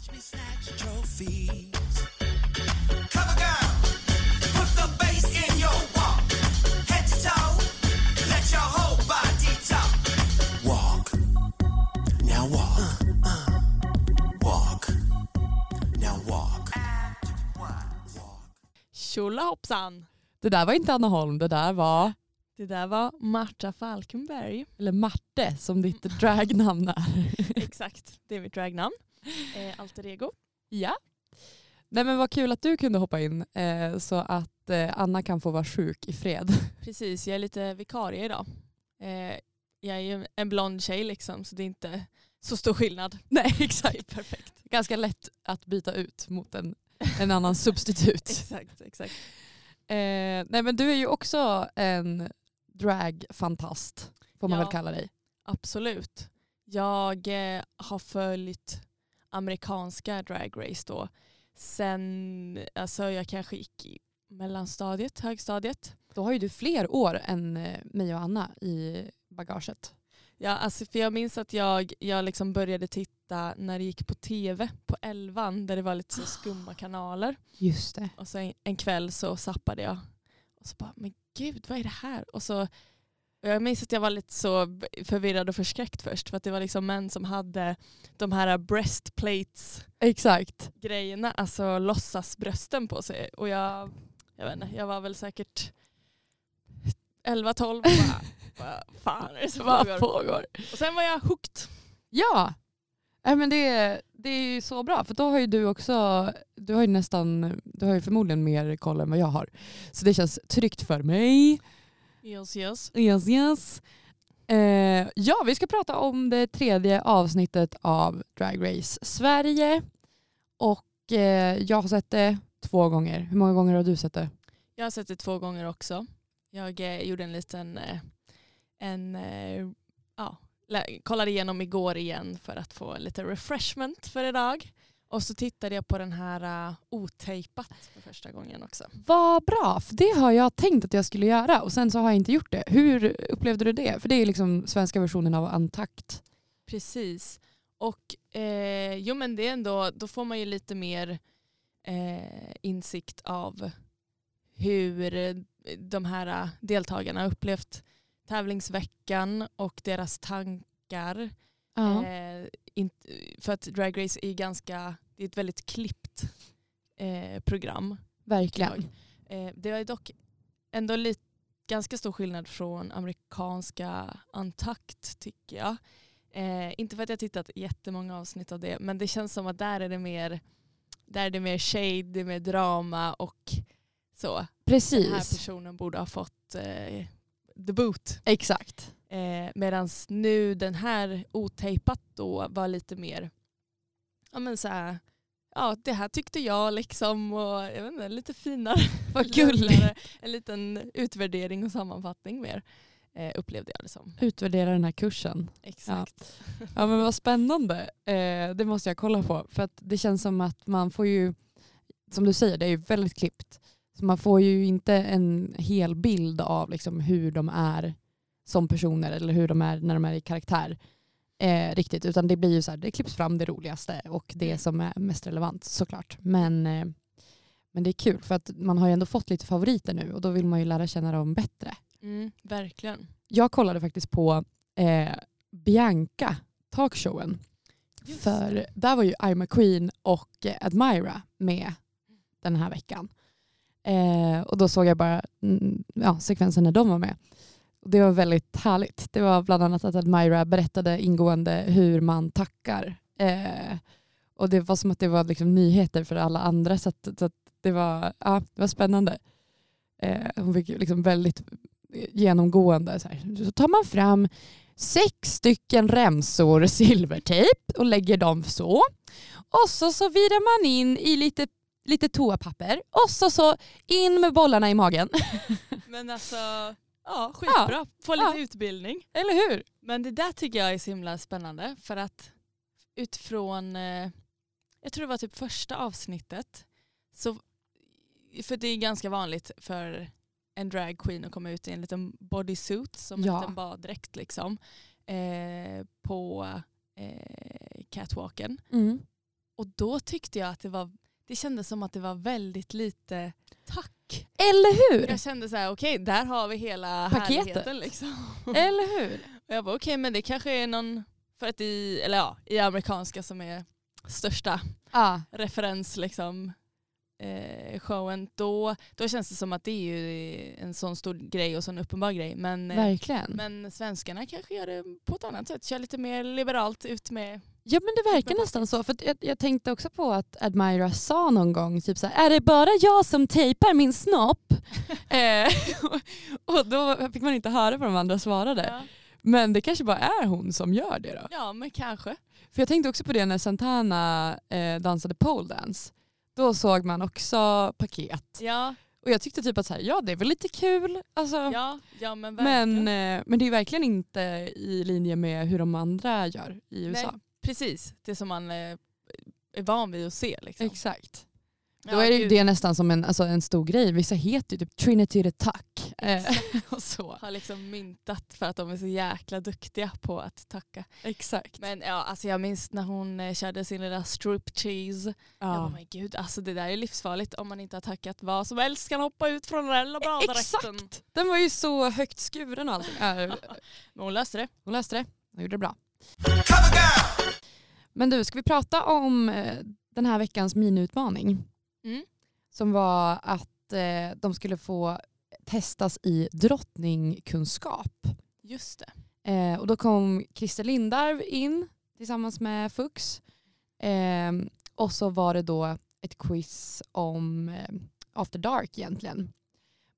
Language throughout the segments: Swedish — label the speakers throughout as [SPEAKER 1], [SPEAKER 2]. [SPEAKER 1] snatch trophies. Cover girl, put the bass in your walk. Head to toe, let your whole body talk. Walk, now walk. Walk, now walk. Walk.
[SPEAKER 2] Tjolahoppsan!
[SPEAKER 3] Det där var inte Anna Holm, det där var,
[SPEAKER 2] Det där var Marta Falkenberg.
[SPEAKER 3] eller Marte som ditt dragnamn är.
[SPEAKER 2] Exakt, det är mitt dragnamn. Eh, alter ego.
[SPEAKER 3] Ja. Nej men vad kul att du kunde hoppa in eh, så att eh, Anna kan få vara sjuk i fred.
[SPEAKER 2] Precis, jag är lite vikarie idag. Eh, jag är ju en blond tjej liksom så det är inte så stor skillnad.
[SPEAKER 3] Nej
[SPEAKER 2] Det är perfekt.
[SPEAKER 3] Ganska lätt att byta ut mot en, en annan substitut.
[SPEAKER 2] Exakt, exakt.
[SPEAKER 3] Eh, nej men du är ju också en dragfantast får man
[SPEAKER 2] Ja.
[SPEAKER 3] väl kalla dig.
[SPEAKER 2] Absolut. Jag eh, har följt amerikanska drag race då. Sen, alltså jag kanske gick i mellanstadiet, högstadiet.
[SPEAKER 3] Då har ju du fler år än eh, mig och Anna i bagaget.
[SPEAKER 2] Ja, alltså för jag minns att jag, jag liksom började titta när det gick på tv på elvan där det var lite så skumma kanaler.
[SPEAKER 3] Just det.
[SPEAKER 2] Och så en, en kväll så zappade jag. Och så bara, men gud vad är det här? Och så, och jag minns att jag var lite så b- förvirrad och förskräckt först för att det var liksom män som hade de här breastplates
[SPEAKER 3] Exakt.
[SPEAKER 2] grejerna, alltså låtsasbrösten på sig. Och jag, jag vet inte, jag var väl säkert 11-12 och bara, vad fan är det som
[SPEAKER 3] Vad
[SPEAKER 2] pågår?
[SPEAKER 3] pågår?
[SPEAKER 2] Och sen var jag hooked.
[SPEAKER 3] Ja, Nej, men det, det är ju så bra för då har ju du också, du har ju nästan, du har ju förmodligen mer koll än vad jag har. Så det känns tryggt för mig.
[SPEAKER 2] Yes, yes.
[SPEAKER 3] Yes, yes. Eh, ja, vi ska prata om det tredje avsnittet av Drag Race Sverige. Och eh, jag har sett det två gånger. Hur många gånger har du sett det?
[SPEAKER 2] Jag har sett det två gånger också. Jag eh, gjorde en liten, eh, en, eh, ja, lä- kollade igenom igår igen för att få lite refreshment för idag. Och så tittade jag på den här uh, otejpat för första gången också.
[SPEAKER 3] Vad bra, för det har jag tänkt att jag skulle göra och sen så har jag inte gjort det. Hur upplevde du det? För det är liksom svenska versionen av Antakt.
[SPEAKER 2] Precis. Och eh, jo men det är ändå, då får man ju lite mer eh, insikt av hur eh, de här eh, deltagarna har upplevt tävlingsveckan och deras tankar.
[SPEAKER 3] Ja.
[SPEAKER 2] Eh, inte- för att Drag Race är ganska, det är ett väldigt klippt eh, program.
[SPEAKER 3] Verkligen.
[SPEAKER 2] Eh, det var ju dock ändå lite, ganska stor skillnad från amerikanska Antakt tycker jag. Eh, inte för att jag tittat jättemånga avsnitt av det men det känns som att där är det mer, där är det mer shade, det är mer drama och så. Den här
[SPEAKER 3] Precis.
[SPEAKER 2] personen borde ha fått eh, the boot
[SPEAKER 3] Exakt.
[SPEAKER 2] Eh, Medan nu den här otejpat då var lite mer, ja men så här, ja det här tyckte jag liksom och jag vet inte, lite finare.
[SPEAKER 3] Vad
[SPEAKER 2] Lugnare.
[SPEAKER 3] gulligt.
[SPEAKER 2] En liten utvärdering och sammanfattning mer eh, upplevde jag det som.
[SPEAKER 3] Utvärdera den här kursen.
[SPEAKER 2] Exakt.
[SPEAKER 3] Ja men vad spännande. Eh, det måste jag kolla på. För att det känns som att man får ju, som du säger, det är ju väldigt klippt. Så man får ju inte en hel bild av liksom hur de är som personer eller hur de är när de är i karaktär. Eh, riktigt, utan det blir ju så här, det klipps fram det roligaste och det som är mest relevant såklart. Men, eh, men det är kul för att man har ju ändå fått lite favoriter nu och då vill man ju lära känna dem bättre.
[SPEAKER 2] Mm, verkligen.
[SPEAKER 3] Jag kollade faktiskt på eh, Bianca talkshowen.
[SPEAKER 2] Just
[SPEAKER 3] För där var ju I'm a Queen och eh, Admira med den här veckan. Eh, och då såg jag bara mm, ja, sekvensen när de var med. Och det var väldigt härligt. Det var bland annat att Admira berättade ingående hur man tackar. Eh, och det var som att det var liksom nyheter för alla andra. Så, att, så att det, var, ja, det var spännande. Eh, hon fick ju liksom väldigt genomgående. Så, här. så tar man fram sex stycken remsor silvertejp och lägger dem så. Och så, så virar man in i lite, lite toapapper och så, så in med bollarna i magen.
[SPEAKER 2] Men alltså, ja skitbra. Få lite
[SPEAKER 3] Ja.
[SPEAKER 2] utbildning.
[SPEAKER 3] Eller hur?
[SPEAKER 2] Men det där tycker jag är så himla spännande för att utifrån, eh, jag tror det var typ första avsnittet, så, för det är ganska vanligt för en drag queen att komma ut i en liten bodysuit som en
[SPEAKER 3] Ja.
[SPEAKER 2] liten baddräkt
[SPEAKER 3] Mm.
[SPEAKER 2] liksom, eh, på eh, catwalken. Och då tyckte jag att det var, det kändes som att det var väldigt lite tack.
[SPEAKER 3] Eller hur?
[SPEAKER 2] Jag kände så här, okej där har vi hela
[SPEAKER 3] Paketet.
[SPEAKER 2] härligheten liksom.
[SPEAKER 3] Eller hur?
[SPEAKER 2] Och jag bara okej men det kanske är någon, för att i, eller ja, i amerikanska som är största
[SPEAKER 3] Ja,
[SPEAKER 2] referens liksom eh, showen då, då känns det som att det är ju en sån stor grej och sån uppenbar grej. Men, eh,
[SPEAKER 3] verkligen.
[SPEAKER 2] men svenskarna kanske gör det på ett annat sätt, kör lite mer liberalt ut med
[SPEAKER 3] Ja men det verkar nästan så. För att jag, jag tänkte också på att Admira sa någon gång typ så här, är det bara jag som tejpar min snopp? eh, och, och då fick man inte höra vad de andra svarade.
[SPEAKER 2] ja,
[SPEAKER 3] Men det kanske bara är hon som gör det då.
[SPEAKER 2] ja men kanske.
[SPEAKER 3] För jag tänkte också på det när Santana eh, dansade pole dance. Då såg man också paket.
[SPEAKER 2] Ja,
[SPEAKER 3] Och jag tyckte typ att så här, ja det är väl lite kul. Alltså,
[SPEAKER 2] ja, ja men verkligen.
[SPEAKER 3] men, eh, men det är verkligen inte i linje med hur de andra gör i USA.
[SPEAKER 2] Nej, precis, det som man eh, är van vid att se. Liksom.
[SPEAKER 3] Exakt.
[SPEAKER 2] Ja,
[SPEAKER 3] Då är det, ju
[SPEAKER 2] gud.
[SPEAKER 3] det nästan som en, alltså en stor grej. Vissa heter ju typ Trinity the Tuck. Eh,
[SPEAKER 2] Exakt.
[SPEAKER 3] och så.
[SPEAKER 2] har liksom myntat för att de är så jäkla duktiga på att tacka.
[SPEAKER 3] Exakt.
[SPEAKER 2] Men ja, alltså jag minns när hon eh, körde sin lilla striptease Jag bara,
[SPEAKER 3] ja.
[SPEAKER 2] men gud, alltså det där är livsfarligt om man inte har tackat vad som helst kan hoppa ut från den här labradorrätten.
[SPEAKER 3] E, Exakt! Den var ju så högt skuren och allting. Eh,
[SPEAKER 2] Men hon löste det.
[SPEAKER 3] Hon läste det. Hon gjorde det bra.
[SPEAKER 1] Cover girl.
[SPEAKER 3] Men du, ska vi prata om eh, den här veckans miniutmaning?
[SPEAKER 2] Mm.
[SPEAKER 3] Som var att eh, de skulle få testas i drottningkunskap.
[SPEAKER 2] Just det.
[SPEAKER 3] Eh, och då kom Christer Lindarw in tillsammans med Fux. Eh, och så var det då ett quiz om eh, After Dark egentligen.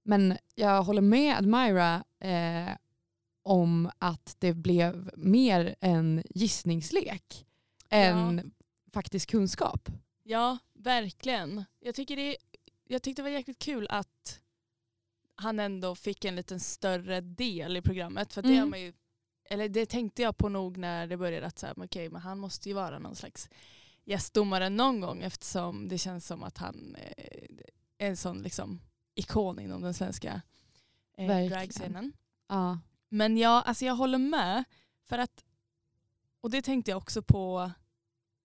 [SPEAKER 3] Men jag håller med Admira eh, om att det blev mer en gissningslek än faktisk kunskap.
[SPEAKER 2] Ja, verkligen. Jag, tycker det, jag tyckte det var jäkligt kul att han ändå fick en liten större del i programmet. För att det,
[SPEAKER 3] Mm.
[SPEAKER 2] har man ju, eller det tänkte jag på nog när det började att så här, men okej, men han måste ju vara någon slags gästdomare någon gång eftersom det känns som att han eh, är en sån liksom, ikon inom den svenska eh,
[SPEAKER 3] Verkligen.
[SPEAKER 2] dragscenen.
[SPEAKER 3] Ja.
[SPEAKER 2] Men ja, alltså jag håller med. För att, och det tänkte jag också på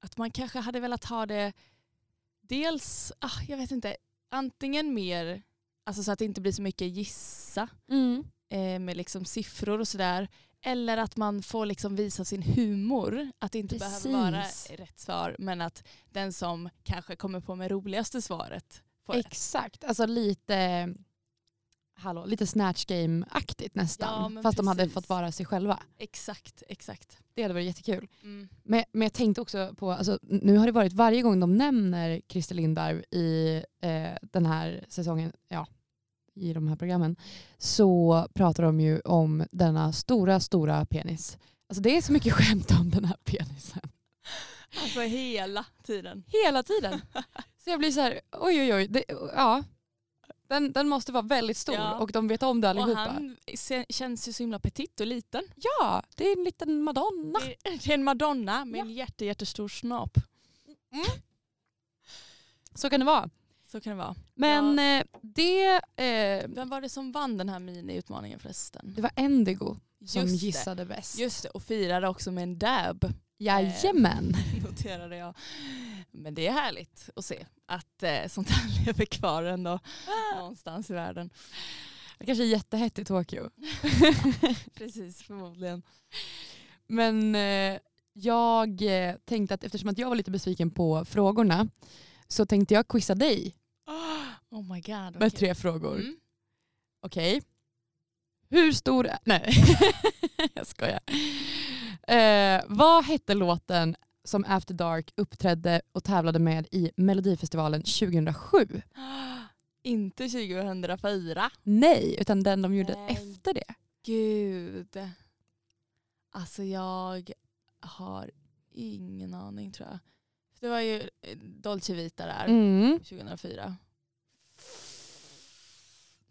[SPEAKER 2] att man kanske hade velat ha det dels, ah, jag vet inte, antingen mer alltså så att det inte blir så mycket gissa eh, med liksom siffror och sådär. Eller att man får liksom visa sin humor. Att det inte behöver vara
[SPEAKER 3] Precis.
[SPEAKER 2] rätt svar men att den som kanske kommer på med roligaste svaret får rätt.
[SPEAKER 3] Exakt, alltså lite, hallå, lite snatch game-aktigt
[SPEAKER 2] Ja,
[SPEAKER 3] nästan.
[SPEAKER 2] men
[SPEAKER 3] Fast de hade
[SPEAKER 2] precis.
[SPEAKER 3] fått vara sig själva.
[SPEAKER 2] Exakt, exakt.
[SPEAKER 3] Det hade varit jättekul.
[SPEAKER 2] Mm.
[SPEAKER 3] Men, men jag tänkte också på, alltså, nu har det varit varje gång de nämner Christer Lindarw i eh, den här säsongen, ja, i de här programmen, så pratar de ju om denna stora, stora penis. Alltså det är så mycket skämt om den här penisen.
[SPEAKER 2] Alltså hela tiden.
[SPEAKER 3] Hela tiden. Så jag blir så här, oj oj oj, det, ja. Den, den måste vara väldigt stor
[SPEAKER 2] Ja.
[SPEAKER 3] och de vet om det
[SPEAKER 2] Och
[SPEAKER 3] allihopa.
[SPEAKER 2] han se- känns ju så himla petit och liten.
[SPEAKER 3] Ja, det är en liten madonna.
[SPEAKER 2] Det är- Det är en madonna med
[SPEAKER 3] Ja.
[SPEAKER 2] en jätte, jättestor snopp.
[SPEAKER 3] Så kan det vara.
[SPEAKER 2] Så kan det vara.
[SPEAKER 3] Men eh, det, eh,
[SPEAKER 2] Vem var det som vann den här miniutmaningen förresten?
[SPEAKER 3] det var Endigo som
[SPEAKER 2] Just
[SPEAKER 3] gissade bäst.
[SPEAKER 2] Det. Just det, och firade också med en dab.
[SPEAKER 3] Jajamän.
[SPEAKER 2] Noterade jag. Men det är härligt att se att eh, sånt här lever kvar ändå
[SPEAKER 3] Ah.
[SPEAKER 2] någonstans i världen.
[SPEAKER 3] Det kanske är jättehett i Tokyo.
[SPEAKER 2] Precis, förmodligen.
[SPEAKER 3] Men eh, jag eh, tänkte att eftersom att jag var lite besviken på frågorna så tänkte jag quizza dig
[SPEAKER 2] Oh my god.
[SPEAKER 3] med
[SPEAKER 2] okej.
[SPEAKER 3] tre frågor.
[SPEAKER 2] Mm.
[SPEAKER 3] Okej. Hur stor är... Nej, jag skojar. Eh, vad hette låten som After Dark uppträdde och tävlade med i Melodifestivalen 2007?
[SPEAKER 2] Ah. Inte 2004.
[SPEAKER 3] Nej, utan den de gjorde
[SPEAKER 2] Nej.
[SPEAKER 3] efter det.
[SPEAKER 2] Gud. Alltså jag har ingen aning tror jag. För Det var ju eh, Dolce Vita där
[SPEAKER 3] Mm.
[SPEAKER 2] 2004.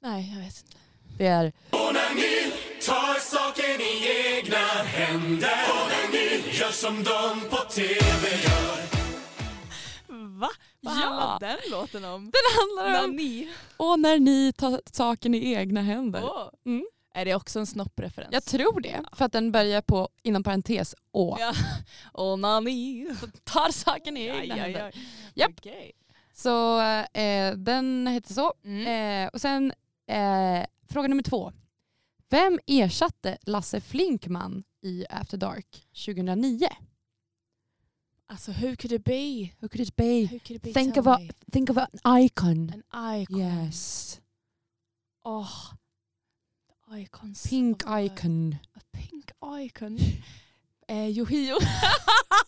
[SPEAKER 2] Nej, jag vet inte.
[SPEAKER 3] Det är
[SPEAKER 1] Och när ni tar saken i egna händer Och när ni gör som de på TV gör
[SPEAKER 2] Va?
[SPEAKER 3] Vad handlar
[SPEAKER 2] den låten om?
[SPEAKER 3] Den handlar om...
[SPEAKER 2] ni.
[SPEAKER 3] Och när ni tar saken i egna händer.
[SPEAKER 2] Åh.
[SPEAKER 3] Mm.
[SPEAKER 2] Är det också en snoppreferens?
[SPEAKER 3] Jag tror det, för att den börjar på inom parentes å.
[SPEAKER 2] Ja. Onani.
[SPEAKER 3] Tar saken i egna händer. Japp.
[SPEAKER 2] Okej.
[SPEAKER 3] Så eh, den hette så.
[SPEAKER 2] Mm.
[SPEAKER 3] Eh, och sen eh, fråga nummer två. Vem ersatte Lasse Flinkman i After Dark 2009?
[SPEAKER 2] Alltså who could it be?
[SPEAKER 3] Who could it be?
[SPEAKER 2] Who could it be?
[SPEAKER 3] Think
[SPEAKER 2] Tell
[SPEAKER 3] of, a,
[SPEAKER 2] me.
[SPEAKER 3] think of an icon.
[SPEAKER 2] An icon.
[SPEAKER 3] Yes.
[SPEAKER 2] Oh. The icons
[SPEAKER 3] Pink
[SPEAKER 2] of the world.
[SPEAKER 3] icon.
[SPEAKER 2] A pink icon. Eh, Yohio.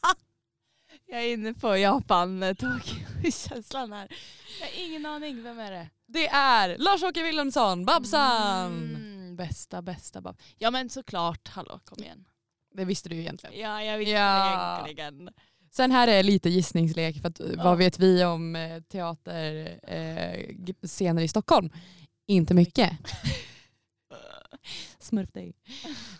[SPEAKER 2] jag är inne på Japan, eh, Tokyo-känslan här. Jag har ingen aning, vem är det?
[SPEAKER 3] Det är Lars-Åke Wilhelmsson,
[SPEAKER 2] Mm, bästa, bästa Babsan. Ja men såklart, hallå kom igen.
[SPEAKER 3] Det visste du ju egentligen.
[SPEAKER 2] Ja jag visste
[SPEAKER 3] Ja.
[SPEAKER 2] egentligen.
[SPEAKER 3] Sen här är lite gissningslek för att eh,
[SPEAKER 2] Ja.
[SPEAKER 3] vad vet vi om eh, teaterscener eh, g- scener i Stockholm? Inte mycket. Smurf dig.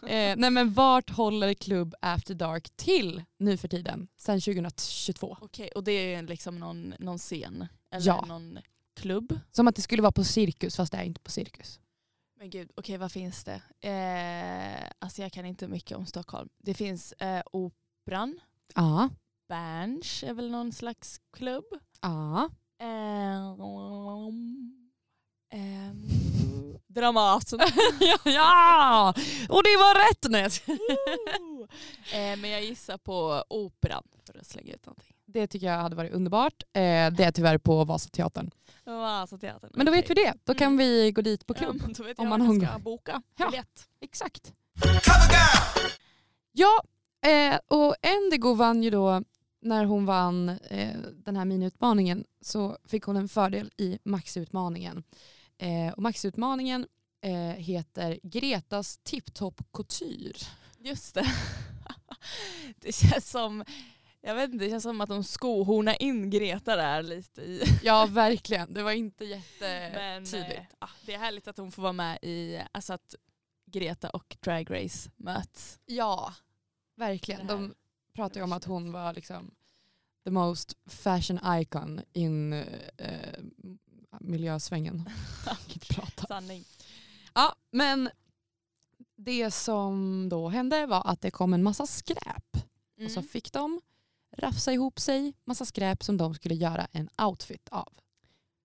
[SPEAKER 3] eh, nej men vart håller Club After Dark till nu för tiden? Sen 2022.
[SPEAKER 2] Okej, och det är liksom någon, någon scen? Eller
[SPEAKER 3] Ja.
[SPEAKER 2] någon klubb?
[SPEAKER 3] Som att det skulle vara på Cirkus fast det är inte på Cirkus.
[SPEAKER 2] Men gud, okej vad finns det? Eh, alltså jag kan inte mycket om Stockholm. Det finns eh, Operan,
[SPEAKER 3] Ja.
[SPEAKER 2] Berns är väl någon slags klubb.
[SPEAKER 3] Ja.
[SPEAKER 2] Ehm, ehm, Dramaten.
[SPEAKER 3] ja! Och det var rätt Nes.
[SPEAKER 2] Woo! eh, men jag gissar på Operan för att slänga ut någonting.
[SPEAKER 3] Det tycker jag hade varit underbart. Eh, det är tyvärr på Vasateatern.
[SPEAKER 2] Vasateatern.
[SPEAKER 3] Men då vet vi det. Då kan
[SPEAKER 2] Mm.
[SPEAKER 3] vi gå dit på klubb.
[SPEAKER 2] alltså Ja, men då vet
[SPEAKER 3] om
[SPEAKER 2] jag
[SPEAKER 3] man
[SPEAKER 2] vart jag
[SPEAKER 3] har-
[SPEAKER 2] ska boka
[SPEAKER 3] Ja.
[SPEAKER 2] biljett.
[SPEAKER 3] Exakt.
[SPEAKER 1] Cover girl.
[SPEAKER 3] Ja, eh, och Endigo vann ju då när hon vann eh, den här miniutmaningen så fick hon en fördel i maxutmaningen. Eh, och maxutmaningen eh, heter Gretas tipptopp couture.
[SPEAKER 2] Just det. det känns som jag vet inte, det känns som att de skohornar in Greta där lite i.
[SPEAKER 3] Ja, verkligen. Det var inte jättetydligt.
[SPEAKER 2] Men eh, ah, det är härligt att hon får vara med i, alltså att Greta och Drag Race möts.
[SPEAKER 3] Ja, verkligen.
[SPEAKER 2] Det här.
[SPEAKER 3] De pratade ju om att hon var liksom the most fashion icon in eh, miljösvängen. Jag kan inte prata.
[SPEAKER 2] Sanning.
[SPEAKER 3] Ja, men det som då hände var att det kom en massa skräp. Och så
[SPEAKER 2] Mm.
[SPEAKER 3] fick de rafsa ihop sig massa skräp som de skulle göra en outfit av.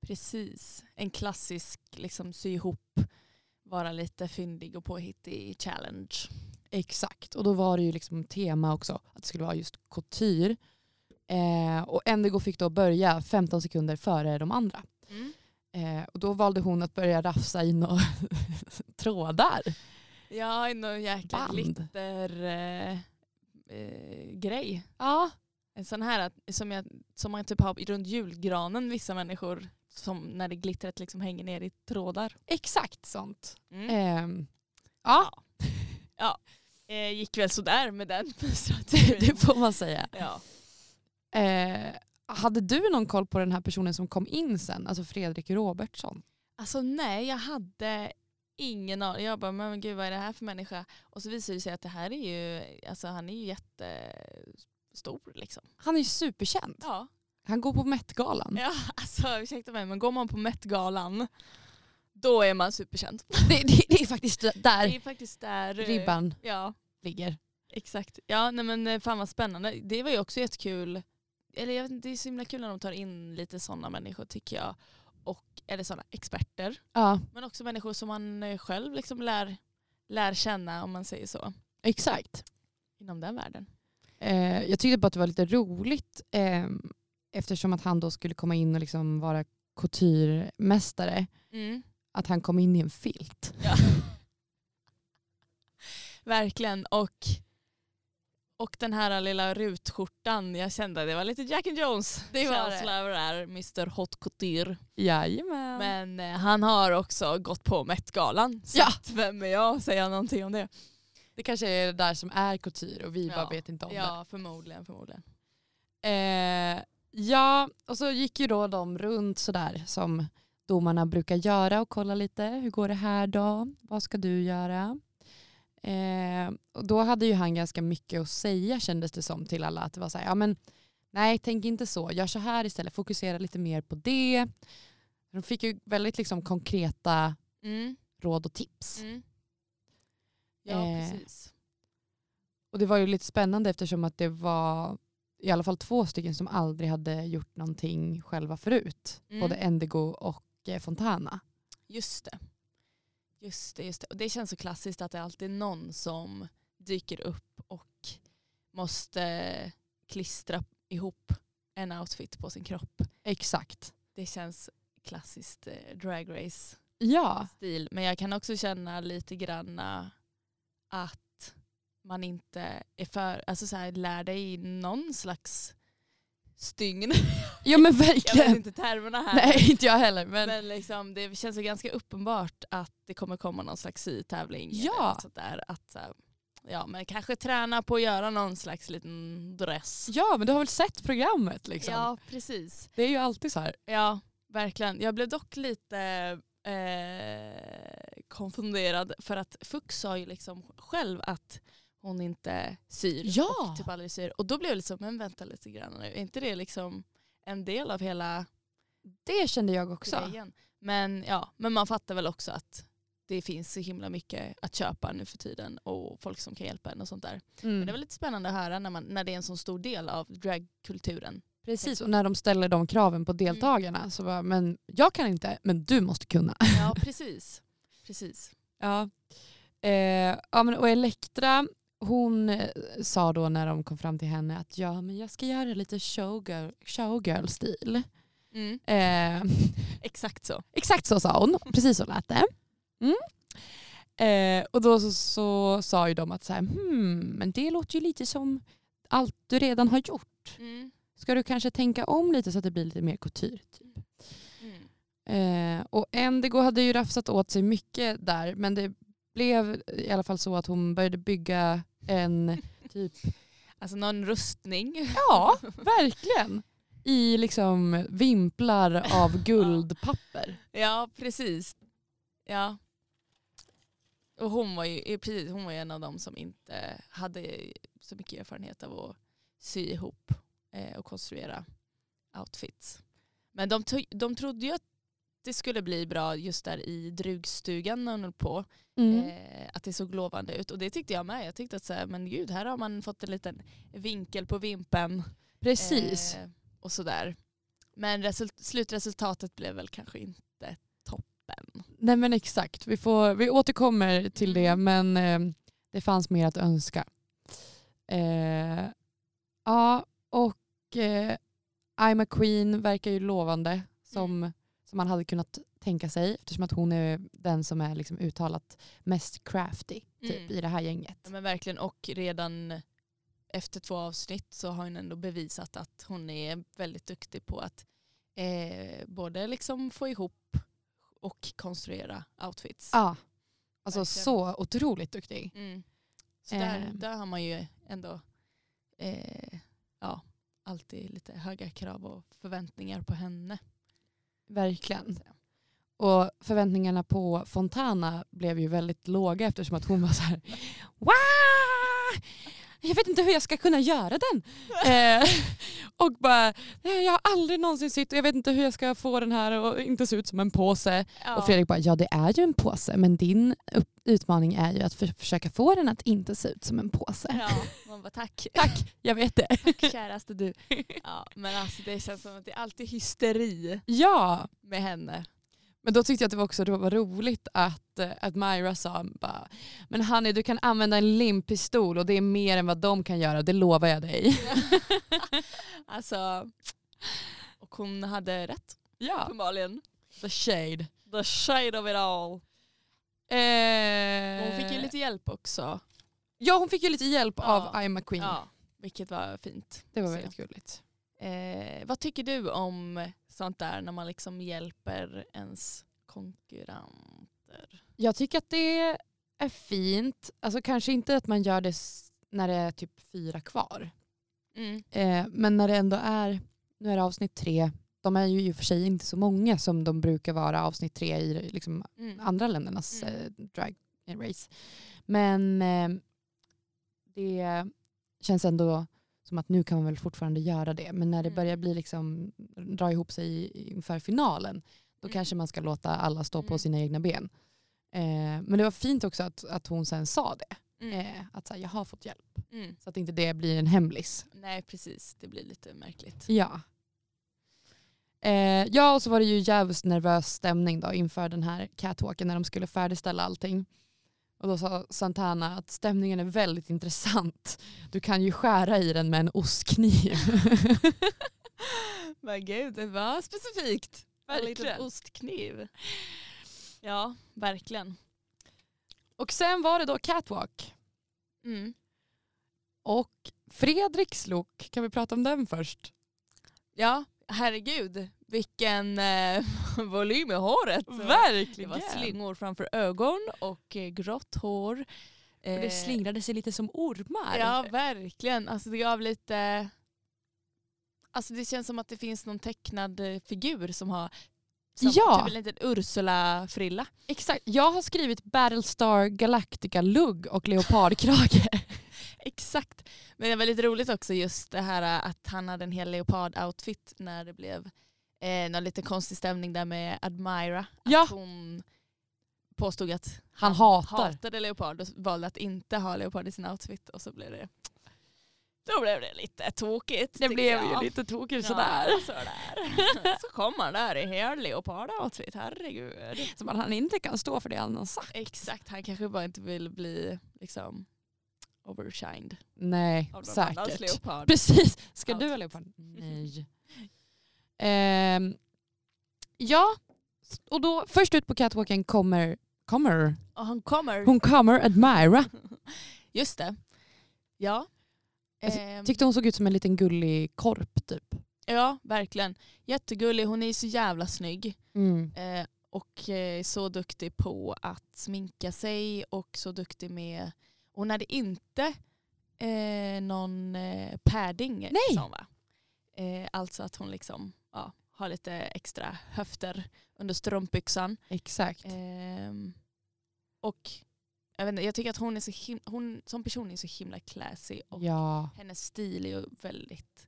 [SPEAKER 2] Precis. En klassisk liksom sy ihop, vara lite fyndig och påhittig challenge.
[SPEAKER 3] Exakt, och då var det ju liksom tema också att det skulle vara just couture. Eh, och Endigo fick då börja 15 sekunder före de andra.
[SPEAKER 2] Mm.
[SPEAKER 3] Eh, och då valde hon att börja rafsa i några trådar.
[SPEAKER 2] Ja, någon jäkla
[SPEAKER 3] Band.
[SPEAKER 2] glittergrej. Eh, eh, grej.
[SPEAKER 3] Ja,
[SPEAKER 2] en sån här att- som, jag, som man typ har runt julgranen vissa människor. Som när det glittret liksom hänger ner i trådar.
[SPEAKER 3] exakt sånt.
[SPEAKER 2] Eh,
[SPEAKER 3] Ehm, ja,
[SPEAKER 2] Eh, gick väl sådär med den
[SPEAKER 3] det,
[SPEAKER 2] strategin.
[SPEAKER 3] det får man säga.
[SPEAKER 2] ja.
[SPEAKER 3] Eh, hade du någon koll på den här personen som kom in sen, alltså Fredrik Robertsson?
[SPEAKER 2] Alltså nej, jag hade ingen aning. Jag bara, men gud vad är det här för människa? Och så visade det sig att det här är ju, alltså han är ju jättestor liksom.
[SPEAKER 3] Han är ju superkänd.
[SPEAKER 2] Ja,
[SPEAKER 3] Han går på Met-galan.
[SPEAKER 2] ja alltså ursäkta mig men går man på Met-galan då är man superkänd.
[SPEAKER 3] Det, det, det är faktiskt
[SPEAKER 2] Det
[SPEAKER 3] där
[SPEAKER 2] är faktiskt där eh,
[SPEAKER 3] ribban
[SPEAKER 2] Ja,
[SPEAKER 3] ligger.
[SPEAKER 2] exakt. Ja nej men eh, fan vad spännande. Det var ju också jättekul. Eller jag vet inte, det är så himla kul när de tar in lite sådana människor tycker jag. Och, eller sådana experter.
[SPEAKER 3] Ja,
[SPEAKER 2] Men också människor som man eh, själv liksom lär, lär känna om man säger så.
[SPEAKER 3] exakt.
[SPEAKER 2] inom den världen.
[SPEAKER 3] Eh, jag tyckte bara att det var lite roligt ehm, eftersom att han då skulle komma in och liksom vara couturemästare.
[SPEAKER 2] Mm.
[SPEAKER 3] Att han kom in i en filt.
[SPEAKER 2] Verkligen. Och, och den här lilla rutskjortan, jag kände det var lite Jack and Jones
[SPEAKER 3] Det var det.
[SPEAKER 2] känsla över det här, Mr Hot Couture.
[SPEAKER 3] Jajamän.
[SPEAKER 2] Men eh, han har också gått på Met-galan. Så
[SPEAKER 3] Ja.
[SPEAKER 2] att vem är jag att säga någonting om det?
[SPEAKER 3] Det kanske är det där som är couture och vi
[SPEAKER 2] Ja.
[SPEAKER 3] bara vet inte om det.
[SPEAKER 2] Ja, förmodligen. förmodligen.
[SPEAKER 3] Eh, ja, och så gick ju då de runt sådär som domarna brukar göra och kolla lite. Hur går det här då? Vad ska du göra? Eh, och då hade ju han ganska mycket att säga kändes det som till alla. Att det var så här, ja men nej tänk inte så, gör så här istället, fokusera lite mer på det.
[SPEAKER 2] Mm.
[SPEAKER 3] De fick ju väldigt liksom konkreta råd och tips.
[SPEAKER 2] Ja,
[SPEAKER 3] Eh,
[SPEAKER 2] precis.
[SPEAKER 3] Och det var ju lite spännande eftersom att det var i alla fall två stycken som aldrig hade gjort någonting själva förut.
[SPEAKER 2] Mm.
[SPEAKER 3] Både Endigo och eh, Fontana.
[SPEAKER 2] Just det. Just det, just det. Och det känns så klassiskt att det alltid är någon som dyker upp och måste klistra ihop en outfit på sin kropp.
[SPEAKER 3] Exakt.
[SPEAKER 2] Det känns klassiskt eh, drag race
[SPEAKER 3] Ja,
[SPEAKER 2] stil. Men jag kan också känna lite granna att man inte är för, alltså så här, lär dig någon slags stygn.
[SPEAKER 3] ja men
[SPEAKER 2] Jag vet
[SPEAKER 3] verkligen.
[SPEAKER 2] inte termerna här.
[SPEAKER 3] Nej inte jag heller. Men,
[SPEAKER 2] Men liksom, det känns ju ganska uppenbart att det kommer komma någon slags sytävling. eller
[SPEAKER 3] Ja.
[SPEAKER 2] något sånt där. Att, så här, ja, men kanske träna på att göra någon slags liten dress.
[SPEAKER 3] Ja men du har väl sett programmet liksom.
[SPEAKER 2] Ja, precis.
[SPEAKER 3] Det är ju alltid så här.
[SPEAKER 2] Ja, verkligen. Jag blev dock lite eh, konfunderad för att Fux sa ju liksom själv att hon inte syr.
[SPEAKER 3] Ja.
[SPEAKER 2] Och typ aldrig syr. Och då blev jag liksom, men vänta lite grann nu. Är inte det liksom en del av hela
[SPEAKER 3] Det kände jag också.
[SPEAKER 2] grejen. Men, ja, men man fattar väl också att det finns så himla mycket att köpa nu för tiden och folk som kan hjälpa en och sånt där.
[SPEAKER 3] Mm.
[SPEAKER 2] Men det var lite spännande att höra när, man, när det är en så stor del av dragkulturen.
[SPEAKER 3] Precis Mm. och när de ställer de kraven på deltagarna så bara, men jag kan inte men du måste kunna.
[SPEAKER 2] Ja, precis. precis.
[SPEAKER 3] Ja. Eh, ja men, och Elektra, hon eh, sa då när de kom fram till henne att ja, men jag ska göra lite showgirl, showgirl-stil.
[SPEAKER 2] Mm,
[SPEAKER 3] Eh,
[SPEAKER 2] exakt så.
[SPEAKER 3] exakt så sa hon, precis så lät det. Mm. Eh, och då så, så sa ju de att så här, hmm, men det låter ju lite som allt du redan har gjort.
[SPEAKER 2] Mm.
[SPEAKER 3] Ska du kanske tänka om lite så att det blir lite mer couture? Typ?
[SPEAKER 2] Mm.
[SPEAKER 3] Eh, och Endigo hade ju rafsat åt sig mycket där men det blev i alla fall så att hon började bygga en,
[SPEAKER 2] Alltså någon rustning.
[SPEAKER 3] ja verkligen, i liksom vimplar av guldpapper.
[SPEAKER 2] Ja, precis. Ja. Och hon var ju eh, precis, hon var ju en av dem som inte hade så mycket erfarenhet av att sy ihop eh, och konstruera outfits. Men de, to- de trodde ju att det skulle bli bra just där i drugstugan när hon höll på.
[SPEAKER 3] Mm.
[SPEAKER 2] Eh, att det såg lovande ut. Och det tyckte jag med. Jag tyckte att så här, men gud, här har man fått en liten vinkel på vimpen.
[SPEAKER 3] Precis.
[SPEAKER 2] Eh, och sådär. Men result- slutresultatet blev väl kanske inte toppen.
[SPEAKER 3] Nej men exakt, vi, får, vi återkommer till det
[SPEAKER 2] Mm.
[SPEAKER 3] men eh, det fanns mer att önska. Eh, ja och eh, I'm a Queen verkar ju lovande som,
[SPEAKER 2] Mm.
[SPEAKER 3] som man hade kunnat tänka sig eftersom att hon är den som är liksom uttalat mest crafty typ,
[SPEAKER 2] Mm.
[SPEAKER 3] i det här gänget.
[SPEAKER 2] Ja, men verkligen. Och redan efter två avsnitt så har hon ändå bevisat att hon är väldigt duktig på att eh, både liksom få ihop och konstruera outfits.
[SPEAKER 3] Ja, alltså
[SPEAKER 2] Verkligen.
[SPEAKER 3] så otroligt duktig.
[SPEAKER 2] Mm. Så där,
[SPEAKER 3] Eh.
[SPEAKER 2] där har man ju ändå eh, ja, alltid lite höga krav och förväntningar på henne. kan man
[SPEAKER 3] Verkligen.
[SPEAKER 2] säga.
[SPEAKER 3] Och förväntningarna på Fontana blev ju väldigt låga eftersom att hon var så här Wah! Jag vet inte hur jag ska kunna göra den. eh, och bara, "Nej, jag har aldrig någonsin sytt och jag vet inte hur jag ska få den här och inte se ut som en påse.
[SPEAKER 2] Ja.
[SPEAKER 3] Och Fredrik bara, ja det är ju en påse men din upp- utmaning är ju att för- försöka få den att inte se ut som en påse.
[SPEAKER 2] Ja, man bara tack.
[SPEAKER 3] Tack, jag vet det.
[SPEAKER 2] Tack käraste du. Ja, men alltså det känns som att det är alltid hysteri
[SPEAKER 3] Ja,
[SPEAKER 2] med henne.
[SPEAKER 3] Men då tyckte jag att det var också det var roligt att, eh, att Myra sa bara, men Hanni du kan använda en limpistol och det är mer än vad de kan göra, det lovar jag dig.
[SPEAKER 2] Alltså, och hon hade rätt
[SPEAKER 3] Ja,
[SPEAKER 2] uppenbarligen.
[SPEAKER 3] the shade.
[SPEAKER 2] The shade of it all. Eh. Hon fick ju lite hjälp också.
[SPEAKER 3] Eh, ja, hon fick ju lite hjälp
[SPEAKER 2] Ja.
[SPEAKER 3] av I'm a Queen.
[SPEAKER 2] Ja, vilket var fint.
[SPEAKER 3] Det var
[SPEAKER 2] Så.
[SPEAKER 3] väldigt gulligt.
[SPEAKER 2] Eh, vad tycker du om sånt där när man liksom hjälper ens konkurrenter?
[SPEAKER 3] Jag tycker att det är fint, alltså kanske inte att man gör det s- när det är typ fyra kvar.
[SPEAKER 2] Mm.
[SPEAKER 3] Eh, men när det ändå är, nu är det avsnitt tre, de är ju i och för sig inte så många som de brukar vara avsnitt tre i liksom
[SPEAKER 2] Mm.
[SPEAKER 3] andra ländernas
[SPEAKER 2] Mm.
[SPEAKER 3] eh, drag race. Men eh, det känns ändå som att nu kan man väl fortfarande göra det. Men när det
[SPEAKER 2] Mm.
[SPEAKER 3] börjar bli liksom, dra ihop sig inför finalen då
[SPEAKER 2] Mm.
[SPEAKER 3] kanske man ska låta alla stå på
[SPEAKER 2] Mm.
[SPEAKER 3] sina egna ben. Eh, men det var fint också att, att hon sen sa det.
[SPEAKER 2] Mm.
[SPEAKER 3] Eh, att så här, jag har fått hjälp.
[SPEAKER 2] Mm.
[SPEAKER 3] Så att inte det blir en hemlis.
[SPEAKER 2] Nej precis, det blir lite märkligt.
[SPEAKER 3] Ja. Eh, ja, och så var det ju jävligt nervös stämning då inför den här catwalken när de skulle färdigställa allting. Och då sa Santana att stämningen är väldigt intressant. Du kan ju skära i den med en ostkniv.
[SPEAKER 2] Men gud, det var specifikt. En liten
[SPEAKER 3] Verkligen.
[SPEAKER 2] ostkniv. Ja, verkligen.
[SPEAKER 3] Och sen var det då catwalk.
[SPEAKER 2] Mm.
[SPEAKER 3] Och Fredriks look, kan vi prata om den först?
[SPEAKER 2] Ja, herregud. Vilken eh, volym i håret. Det
[SPEAKER 3] Verkligen.
[SPEAKER 2] var slingor framför ögon och eh, grått hår.
[SPEAKER 3] Och
[SPEAKER 2] Eh,
[SPEAKER 3] det slingrade sig lite som ormar.
[SPEAKER 2] Ja, verkligen. Alltså det gav lite... Alltså det känns som att det finns någon tecknad eh, figur som har som
[SPEAKER 3] Ja.
[SPEAKER 2] typ en liten Ursula-frilla.
[SPEAKER 3] Exakt. Jag har skrivit Battlestar Galactica-lugg och leopardkrage.
[SPEAKER 2] Exakt. Men det var lite roligt också just det här eh, att han hade en hel leopard-outfit när det blev eh, någon lite konstig stämning där med Admira.
[SPEAKER 3] ja,
[SPEAKER 2] Hon påstod att
[SPEAKER 3] han hatar.
[SPEAKER 2] hatade leopard och valde att inte ha leopard i sin outfit och så blev det då blev det lite tokigt.
[SPEAKER 3] Det
[SPEAKER 2] tycker
[SPEAKER 3] blev
[SPEAKER 2] jag.
[SPEAKER 3] ju lite tokigt
[SPEAKER 2] Ja,
[SPEAKER 3] sådär.
[SPEAKER 2] sådär. Så kommer han där i hel leopardoutfit, herregud.
[SPEAKER 3] Som att han inte kan stå för det han har sagt.
[SPEAKER 2] Exakt, han kanske bara inte vill bli liksom overshined
[SPEAKER 3] Nej,
[SPEAKER 2] av någon annans
[SPEAKER 3] säkert.
[SPEAKER 2] leopard.
[SPEAKER 3] Precis. Ska du ha
[SPEAKER 2] Outfit.
[SPEAKER 3] leopard? Nej. Ehm, ja, och då först ut på catwalken kommer, kommer.
[SPEAKER 2] Och han kommer,
[SPEAKER 3] Hon kommer Admira.
[SPEAKER 2] Mm. just det. Ja.
[SPEAKER 3] Jag ty-
[SPEAKER 2] Ehm,
[SPEAKER 3] Tyckte hon såg ut som en liten gullig korp typ.
[SPEAKER 2] ja, verkligen. Jättegullig, hon är ju så jävla snygg.
[SPEAKER 3] Mm.
[SPEAKER 2] Eh, och eh, så duktig på att sminka sig och så duktig med... Hon hade inte eh, någon eh, padding.
[SPEAKER 3] Nej.
[SPEAKER 2] Som, va? Eh, alltså att hon liksom ja, har lite extra höfter under strumpbyxan.
[SPEAKER 3] Exakt.
[SPEAKER 2] Ehm, och jag, vet inte, jag tycker att hon, är så him- hon som person är så himla classy och
[SPEAKER 3] Ja.
[SPEAKER 2] hennes stil är ju väldigt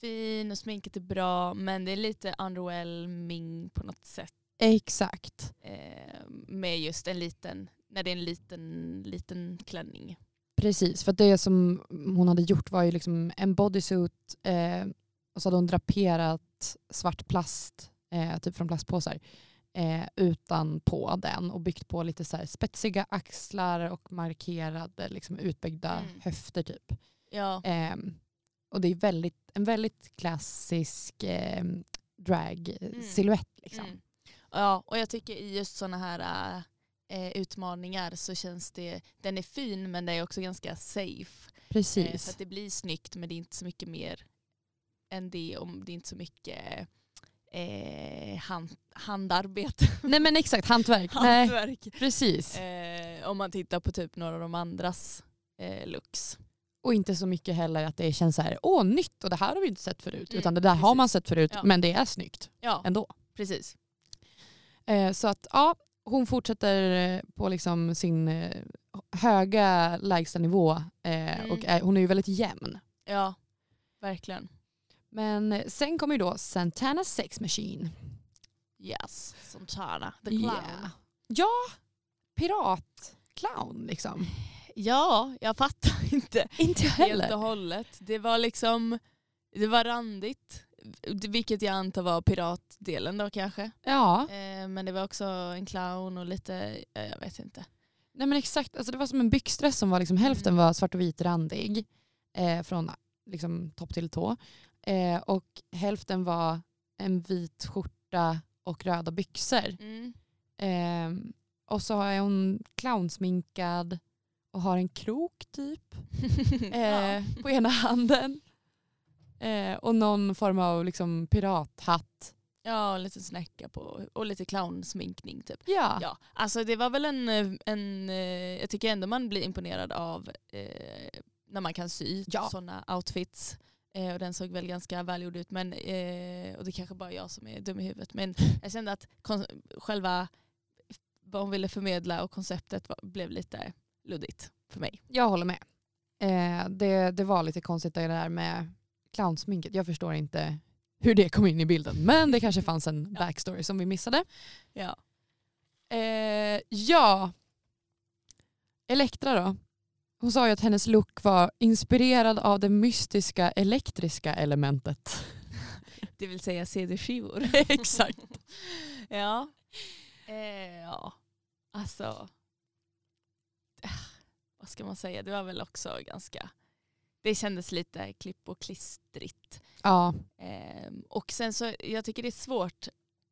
[SPEAKER 2] fin och sminket är bra men det är lite underwhelming på något sätt
[SPEAKER 3] Exakt.
[SPEAKER 2] eh, med just en liten, när det är en liten, liten klänning.
[SPEAKER 3] Precis, för att det som hon hade gjort var ju liksom en bodysuit eh, och så hade hon draperat svart plast, eh, typ från plastpåsar, eh, utanpå den och byggt på lite så här spetsiga axlar och markerade liksom utbyggda
[SPEAKER 2] Mm.
[SPEAKER 3] höfter typ.
[SPEAKER 2] Ja,
[SPEAKER 3] Eh, och det är väldigt, en väldigt klassisk eh, drag-silhuett. Liksom.
[SPEAKER 2] mm. ja, och jag tycker i just sådana här eh, utmaningar så känns det, den är fin men den är också ganska safe. Eh, så
[SPEAKER 3] Precis.
[SPEAKER 2] att det blir snyggt men det är inte så mycket mer än det om det är inte så mycket eh, hand, handarbete,
[SPEAKER 3] Nej men exakt, hantverk. Nej,
[SPEAKER 2] hantverk.
[SPEAKER 3] precis.
[SPEAKER 2] Eh, om man tittar på typ några av de andras eh, looks.
[SPEAKER 3] Och inte så mycket heller att det känns så här, åh nytt och det här har vi inte sett förut.
[SPEAKER 2] Mm,
[SPEAKER 3] Utan det där har
[SPEAKER 2] precis.
[SPEAKER 3] man sett förut
[SPEAKER 2] Ja.
[SPEAKER 3] men det är snyggt
[SPEAKER 2] Ja,
[SPEAKER 3] ändå.
[SPEAKER 2] precis.
[SPEAKER 3] Eh, så att ja, hon fortsätter eh, på liksom sin eh, höga lägstanivå eh,
[SPEAKER 2] Mm.
[SPEAKER 3] och är, hon är ju väldigt jämn.
[SPEAKER 2] Ja, verkligen.
[SPEAKER 3] Men eh, sen kommer ju då Santana Sex Machine.
[SPEAKER 2] Yes, Santana. The
[SPEAKER 3] Yeah. Ja, piratclown liksom.
[SPEAKER 2] Ja, jag fattar inte
[SPEAKER 3] Inte
[SPEAKER 2] helt
[SPEAKER 3] heller.
[SPEAKER 2] och hållet. Det var liksom, det var randigt. Vilket jag antar var piratdelen då kanske.
[SPEAKER 3] Ja,
[SPEAKER 2] Eh, men det var också en clown och lite, eh, jag vet inte.
[SPEAKER 3] nej men exakt. Alltså, det var som en byxdress som var liksom, hälften var svart och vit randig eh, från liksom, topp till tå. Eh, och hälften var en vit skjorta och röda byxor.
[SPEAKER 2] Mm.
[SPEAKER 3] Ehm, och så är hon clownsminkad och har en krok typ
[SPEAKER 2] ja.
[SPEAKER 3] eh, på ena handen. Eh, och någon form av liksom, pirathatt.
[SPEAKER 2] ja, och lite snäcka på och lite clownsminkning typ.
[SPEAKER 3] Ja,
[SPEAKER 2] Ja, alltså det var väl en, eh, en eh, jag tycker ändå man blir imponerad av eh, när man kan sy
[SPEAKER 3] Ja.
[SPEAKER 2] sådana outfits. Eh, och den såg väl ganska välgjord ut, men, eh, och det kanske bara är jag som är dum i huvudet. Men jag kände att kon- själva vad hon ville förmedla och konceptet var, blev lite luddigt för mig.
[SPEAKER 3] jag håller med. Eh, det, det var lite konstigt det där med clownsminket. Jag förstår inte hur det kom in i bilden. Men det kanske fanns en backstory som vi missade.
[SPEAKER 2] Ja.
[SPEAKER 3] Eh, ja, Elektra då. Hon sa ju att hennes look var inspirerad av det mystiska elektriska elementet.
[SPEAKER 2] Det vill säga CD-skivor.
[SPEAKER 3] Exakt.
[SPEAKER 2] ja. Eh, ja. Alltså. eh, Vad ska man säga? Det var väl också ganska. Det kändes lite klipp och klistrigt.
[SPEAKER 3] Ja,
[SPEAKER 2] Ehm, och sen så, jag tycker det är svårt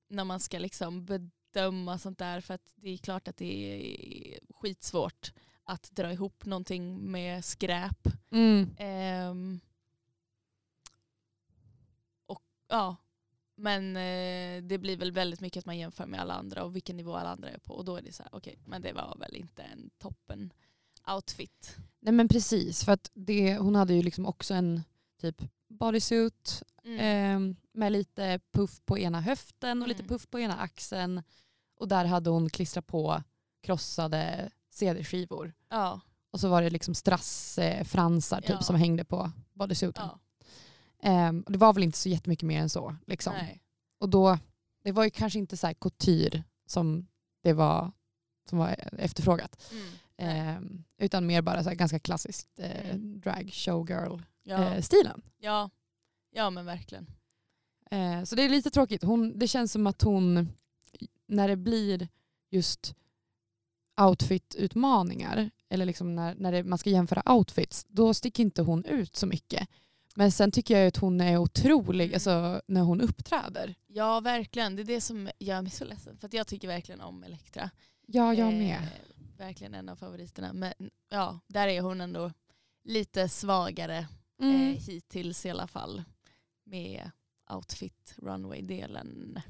[SPEAKER 2] när man ska liksom bedöma sånt där för att det är klart att det är skitsvårt att dra ihop någonting med skräp.
[SPEAKER 3] mm.
[SPEAKER 2] Ehm, och ja, men eh, det blir väl väldigt mycket att man jämför med alla andra och vilken nivå alla andra är på och då är det så här, okej, men det var väl inte en toppen outfit.
[SPEAKER 3] Nej, men precis. För att det, hon hade ju liksom också en typ bodysuit eh, med lite puff på ena höften och lite
[SPEAKER 2] Mm.
[SPEAKER 3] puff på ena axeln. Och där hade hon klistrat på krossade CD-skivor.
[SPEAKER 2] ja,
[SPEAKER 3] Och så var det liksom strassfransar typ,
[SPEAKER 2] Ja.
[SPEAKER 3] som hängde på bodysuiten.
[SPEAKER 2] ja,
[SPEAKER 3] Ehm, och det var väl inte så jättemycket mer än så. Liksom.
[SPEAKER 2] nej.
[SPEAKER 3] Och då, det var ju kanske inte så här couture som det var, som var efterfrågat.
[SPEAKER 2] Mm, nej.
[SPEAKER 3] Ehm, utan mer bara så här ganska klassiskt eh,
[SPEAKER 2] Mm.
[SPEAKER 3] drag showgirl-stilen.
[SPEAKER 2] Ja,
[SPEAKER 3] Eh, stilen.
[SPEAKER 2] ja, ja, men verkligen.
[SPEAKER 3] eh, så det är lite tråkigt. Hon, det känns som att hon, när det blir just outfit-utmaningar, eller liksom när, när det, man ska jämföra outfits, då sticker inte hon ut så mycket. Men sen tycker jag ju att hon är otrolig
[SPEAKER 2] Mm.
[SPEAKER 3] alltså, när hon uppträder.
[SPEAKER 2] Ja, verkligen. Det är det som gör mig så ledsen. För att jag tycker verkligen om Elektra.
[SPEAKER 3] Ja, jag med.
[SPEAKER 2] Eh, verkligen en av favoriterna. Men ja, där är hon ändå lite svagare
[SPEAKER 3] Mm.
[SPEAKER 2] eh, hittills i alla fall. Med outfit runway-delen.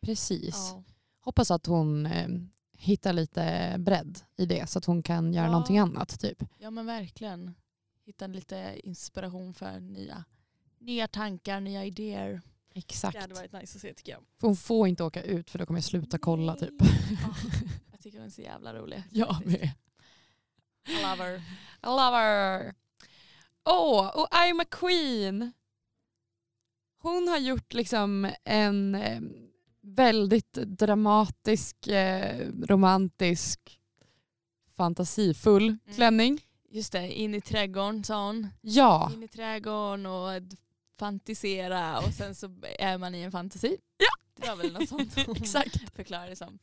[SPEAKER 3] Precis.
[SPEAKER 2] Ja.
[SPEAKER 3] hoppas att hon eh, hittar lite bredd i det så att hon kan göra
[SPEAKER 2] Ja.
[SPEAKER 3] någonting annat. Typ.
[SPEAKER 2] ja, men verkligen. Hitta lite inspiration för nya, nya tankar, nya idéer.
[SPEAKER 3] Exakt.
[SPEAKER 2] nice att se tycker jag.
[SPEAKER 3] För hon får inte åka ut för då kommer jag sluta kolla typ.
[SPEAKER 2] Ja, jag tycker hon är så jävla rolig.
[SPEAKER 3] Jag med.
[SPEAKER 2] I love her.
[SPEAKER 3] I love her. Åh, och I'm a queen. Hon har gjort liksom en eh, väldigt dramatisk, eh, romantisk, fantasifull klänning.
[SPEAKER 2] Just det, in i trädgården sa hon.
[SPEAKER 3] Ja.
[SPEAKER 2] in i trädgården och d- fantisera och sen så är man i en fantasi. Det var väl något sånt hon
[SPEAKER 3] Exakt.
[SPEAKER 2] förklarade det som.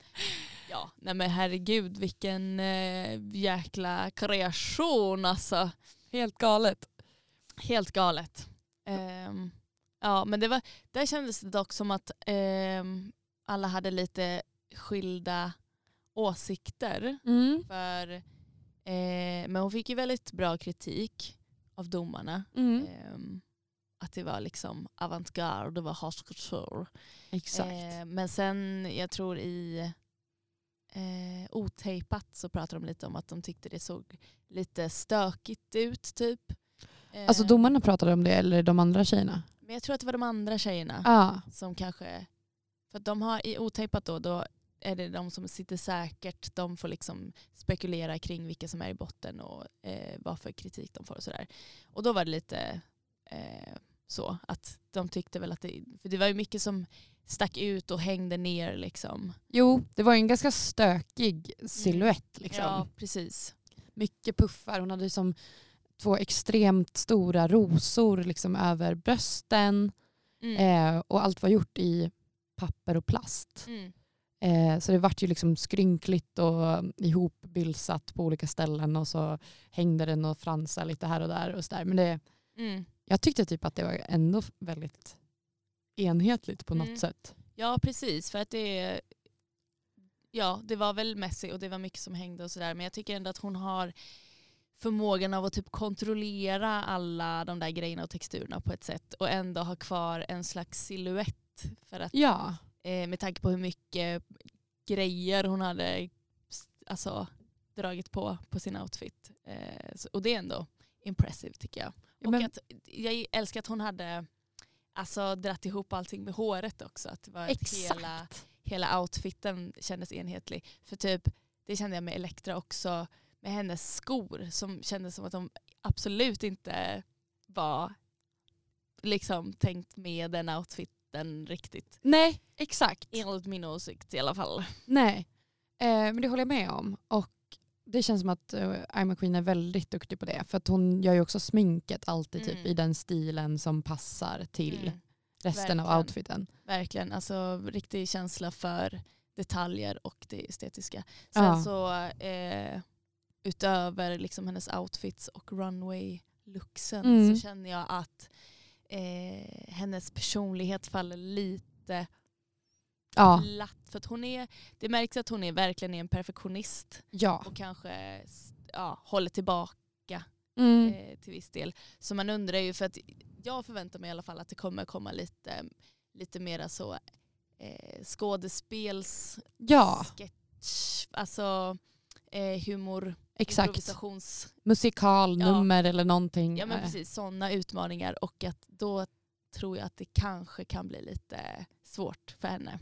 [SPEAKER 2] Ja, nej men herregud vilken eh, jäkla kreation alltså.
[SPEAKER 3] Helt galet.
[SPEAKER 2] Helt galet. Ehm, ja men det var, där kändes det dock som att ehm, alla hade lite skilda åsikter.
[SPEAKER 3] Mm.
[SPEAKER 2] För, eh, men hon fick ju väldigt bra kritik av domarna.
[SPEAKER 3] Mm.
[SPEAKER 2] Ehm, att det var liksom avantgarde och var haute couture.
[SPEAKER 3] Exakt.
[SPEAKER 2] Eh, men sen, jag tror i eh, Otejpat så pratade de lite om att de tyckte det såg lite stökigt ut typ. Eh,
[SPEAKER 3] Alltså domarna pratade om det eller de andra tjejerna?
[SPEAKER 2] Ehm,
[SPEAKER 3] Ah.
[SPEAKER 2] Men jag tror att det var de andra tjejerna
[SPEAKER 3] Ja.
[SPEAKER 2] som kanske, för att de har i Otejpat då, då är det de som sitter säkert, de får liksom spekulera kring vilka som är i botten och eh, vad för kritik de får och sådär. Och då var det lite eh, så att de tyckte väl att det, för det var ju mycket som stack ut och hängde ner liksom.
[SPEAKER 3] Jo, det var ju en ganska stökig silhuett. Liksom.
[SPEAKER 2] Ja, precis.
[SPEAKER 3] Mycket puffar. Hon hade ju som två extremt stora rosor liksom, över brösten.
[SPEAKER 2] Mm.
[SPEAKER 3] Eh, och allt var gjort i papper och plast.
[SPEAKER 2] Mm.
[SPEAKER 3] Eh, så det vart ju liksom skrynkligt och ihopbylsat på olika ställen och så hängde den och fransade lite här och där. Och så där. Men det,
[SPEAKER 2] Mm.
[SPEAKER 3] jag tyckte typ att det var ändå väldigt enhetligt på något
[SPEAKER 2] Mm.
[SPEAKER 3] sätt.
[SPEAKER 2] Ja, precis. För att det, ja, det var väl Messi och det var mycket som hängde och sådär. Men jag tycker ändå att hon har förmågan av att typ kontrollera alla de där grejerna och texturerna på ett sätt och ändå ha kvar en slags silhuett. För att,
[SPEAKER 3] Ja,
[SPEAKER 2] eh, med tanke på hur mycket grejer hon hade alltså, dragit på på sin outfit. Eh, så, och det är ändå impressive tycker jag.
[SPEAKER 3] Ja,
[SPEAKER 2] Och
[SPEAKER 3] men-
[SPEAKER 2] att, jag älskar att hon hade alltså, dratt ihop allting med håret också. Att det var att
[SPEAKER 3] exakt.
[SPEAKER 2] hela, hela outfiten kändes enhetlig. För typ, det kände jag med Elektra också, med hennes skor som kändes som att de absolut inte var liksom tänkt med den outfiten riktigt.
[SPEAKER 3] Nej, exakt.
[SPEAKER 2] Enligt min åsikt i alla fall.
[SPEAKER 3] Nej. Eh, men det håller jag med om. Och det känns som att eh, Ima Queen är väldigt duktig på det. För att hon gör ju också sminket alltid typ
[SPEAKER 2] Mm.
[SPEAKER 3] i den stilen som passar till
[SPEAKER 2] Mm.
[SPEAKER 3] resten av
[SPEAKER 2] verkligen.
[SPEAKER 3] outfiten.
[SPEAKER 2] Verkligen, alltså riktig känsla för detaljer och det estetiska. Sen
[SPEAKER 3] Ja.
[SPEAKER 2] så eh, utöver liksom hennes outfits och runway-looksen
[SPEAKER 3] Mm.
[SPEAKER 2] så känner jag att eh, hennes personlighet faller lite Mm.
[SPEAKER 3] Ja,
[SPEAKER 2] platt. För att hon är, det märks att hon är verkligen är en perfektionist
[SPEAKER 3] ja.
[SPEAKER 2] och kanske s- ja, håller tillbaka
[SPEAKER 3] Mm.
[SPEAKER 2] eh, till viss del. Så man undrar ju, för att jag förväntar mig i alla fall att det kommer komma lite, lite mera så eh, skådespels,
[SPEAKER 3] ja
[SPEAKER 2] sketch, alltså eh, humor,
[SPEAKER 3] exakt.
[SPEAKER 2] improvisations,
[SPEAKER 3] Musikalnummer eller någonting.
[SPEAKER 2] ja men
[SPEAKER 3] Eh,
[SPEAKER 2] precis sådana utmaningar och att då tror jag att det kanske kan bli lite svårt för henne.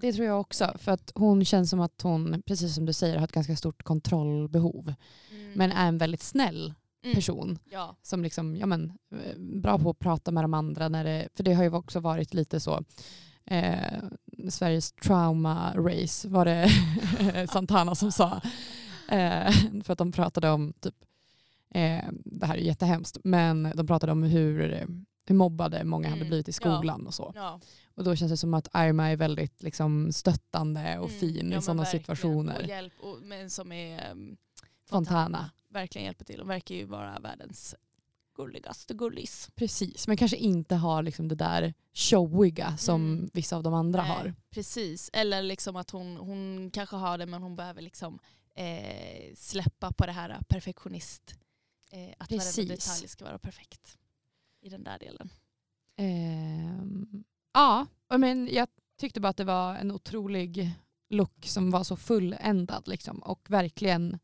[SPEAKER 3] Det tror jag också. För att hon känns som att hon, precis som du säger, har ett ganska stort kontrollbehov.
[SPEAKER 2] Mm.
[SPEAKER 3] Men är en väldigt snäll
[SPEAKER 2] Mm.
[SPEAKER 3] person.
[SPEAKER 2] Ja,
[SPEAKER 3] som liksom, ja men, eh, bra på att prata med de andra. När det, för det har ju också varit lite så, eh, Sveriges trauma race var det Santana som sa. Eh, för att de pratade om, typ, eh, det här är ju jättehemskt, men de pratade om hur, eh, hur mobbade många hade
[SPEAKER 2] Mm,
[SPEAKER 3] blivit i skolan och så.
[SPEAKER 2] ja.
[SPEAKER 3] Och då känns det som att Irma är väldigt liksom, stöttande och
[SPEAKER 2] Mm. Ja,
[SPEAKER 3] fin i
[SPEAKER 2] men
[SPEAKER 3] sådana
[SPEAKER 2] verkligen. Och
[SPEAKER 3] situationer.
[SPEAKER 2] hjälp, och, men som är um,
[SPEAKER 3] Fontana.
[SPEAKER 2] verkligen hjälper till och verkar ju vara världens gulligaste gullis.
[SPEAKER 3] Precis, men kanske inte har liksom det där showiga som
[SPEAKER 2] Mm.
[SPEAKER 3] vissa av de andra
[SPEAKER 2] Nej,
[SPEAKER 3] har.
[SPEAKER 2] Precis, eller liksom att hon, hon kanske har det men hon behöver liksom eh, släppa på det här perfektionist. Eh, att
[SPEAKER 3] Precis.
[SPEAKER 2] varenda detalj ska vara perfekt. I den där delen.
[SPEAKER 3] Ehm, ja, men jag tyckte bara att det var en otrolig look som var så fulländad liksom, och verkligen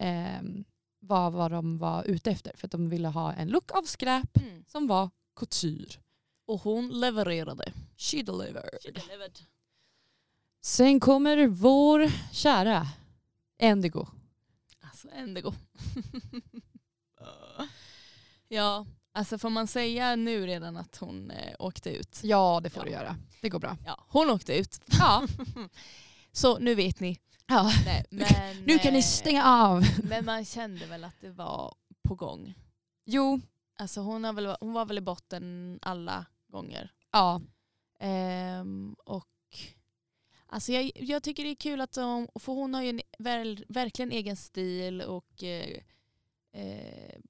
[SPEAKER 3] ehm, var vad de var ute efter. För att de ville ha en look av skräp
[SPEAKER 2] Mm.
[SPEAKER 3] som var couture.
[SPEAKER 2] Och hon levererade.
[SPEAKER 3] She delivered. Sen kommer vår kära Endigo.
[SPEAKER 2] Alltså Endigo. ja, alltså får man säga nu redan att hon eh, åkte ut?
[SPEAKER 3] Ja, det får
[SPEAKER 2] Ja.
[SPEAKER 3] du göra. Det går bra.
[SPEAKER 2] Ja, hon åkte ut.
[SPEAKER 3] Ja.
[SPEAKER 2] Så nu vet ni.
[SPEAKER 3] ja.
[SPEAKER 2] Nej, men,
[SPEAKER 3] Nu kan ni
[SPEAKER 2] eh,
[SPEAKER 3] stänga av.
[SPEAKER 2] Men man kände väl att det var på gång.
[SPEAKER 3] Jo,
[SPEAKER 2] Alltså hon, har väl, hon var väl i botten alla gånger.
[SPEAKER 3] ja.
[SPEAKER 2] Ehm, och alltså jag, jag tycker det är kul att de, för hon har ju en, väl, verkligen egen stil och eh, eh,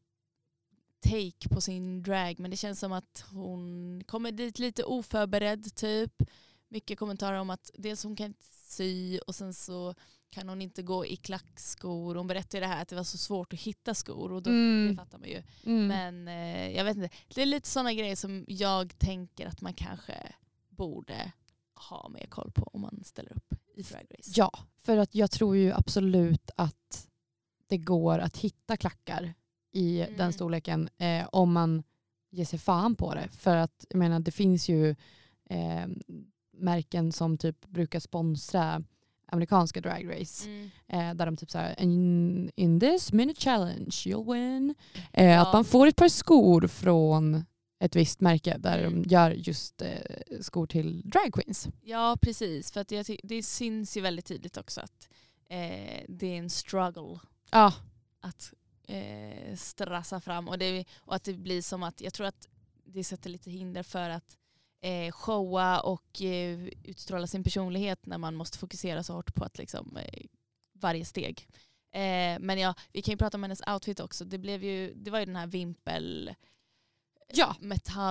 [SPEAKER 2] take på sin drag. Men det känns som att hon kommer dit lite oförberedd typ. Mycket kommentarer om att dels hon kan inte sy och sen så kan hon inte gå i klackskor. Hon berättade det här att det var så svårt att hitta skor och då det
[SPEAKER 3] Mm.
[SPEAKER 2] fattar man ju.
[SPEAKER 3] Mm.
[SPEAKER 2] Men eh, jag vet inte, det är lite sådana grejer som jag tänker att man kanske borde ha mer koll på om man ställer upp i Drag Race.
[SPEAKER 3] Ja, för att jag tror ju absolut att det går att hitta klackar i
[SPEAKER 2] Mm.
[SPEAKER 3] den storleken eh, om man ger sig fan på det. För att jag menar, det finns ju eh, märken som typ brukar sponsra amerikanska dragrace
[SPEAKER 2] Mm.
[SPEAKER 3] eh, där de typ såhär in, in this minute challenge you'll win. Eh,
[SPEAKER 2] Ja.
[SPEAKER 3] Att man får ett par skor från ett visst märke där
[SPEAKER 2] Mm.
[SPEAKER 3] de gör just eh, skor till drag queens.
[SPEAKER 2] ja precis, för att jag ty- det syns ju väldigt tydligt också att eh, det är en struggle
[SPEAKER 3] Ja,
[SPEAKER 2] att eh, strassa fram och, det, och att det blir som att jag tror att det sätter lite hinder för att eh, showa och eh, utstråla sin personlighet när man måste fokusera så hårt på att liksom, eh, varje steg. Eh, men ja, vi kan ju prata om hennes outfit också. Det, blev ju, det var ju den här vimpel
[SPEAKER 3] ja.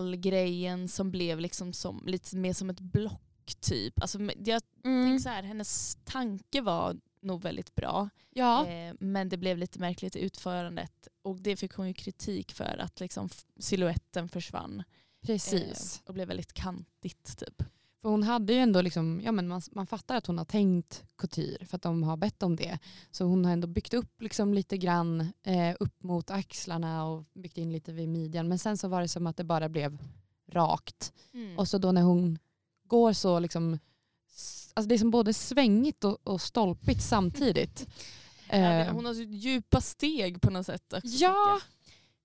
[SPEAKER 2] metallgrejen som blev liksom som, lite mer som ett block typ. Alltså, men jag
[SPEAKER 3] Mm.
[SPEAKER 2] tänker så här, hennes tanke var nog väldigt bra.
[SPEAKER 3] ja.
[SPEAKER 2] Eh, men det blev lite märkligt i utförandet och det fick hon ju kritik för att liksom f- siluetten försvann
[SPEAKER 3] precis.
[SPEAKER 2] eh, och blev väldigt kantigt typ.
[SPEAKER 3] För hon hade ju ändå, liksom, ja, men man, man fattar att hon har tänkt couture för att de har bett om det. Så hon har ändå byggt upp liksom lite grann eh, upp mot axlarna och byggt in lite vid midjan. Men sen så var det som att det bara blev rakt.
[SPEAKER 2] Mm.
[SPEAKER 3] Och så då när hon går så liksom, s- alltså det är som både svängigt och, och stolpigt samtidigt.
[SPEAKER 2] Ja, det-
[SPEAKER 3] Eh,
[SPEAKER 2] hon har så djupa steg på något sätt. Också, tycker
[SPEAKER 3] ja,
[SPEAKER 2] jag.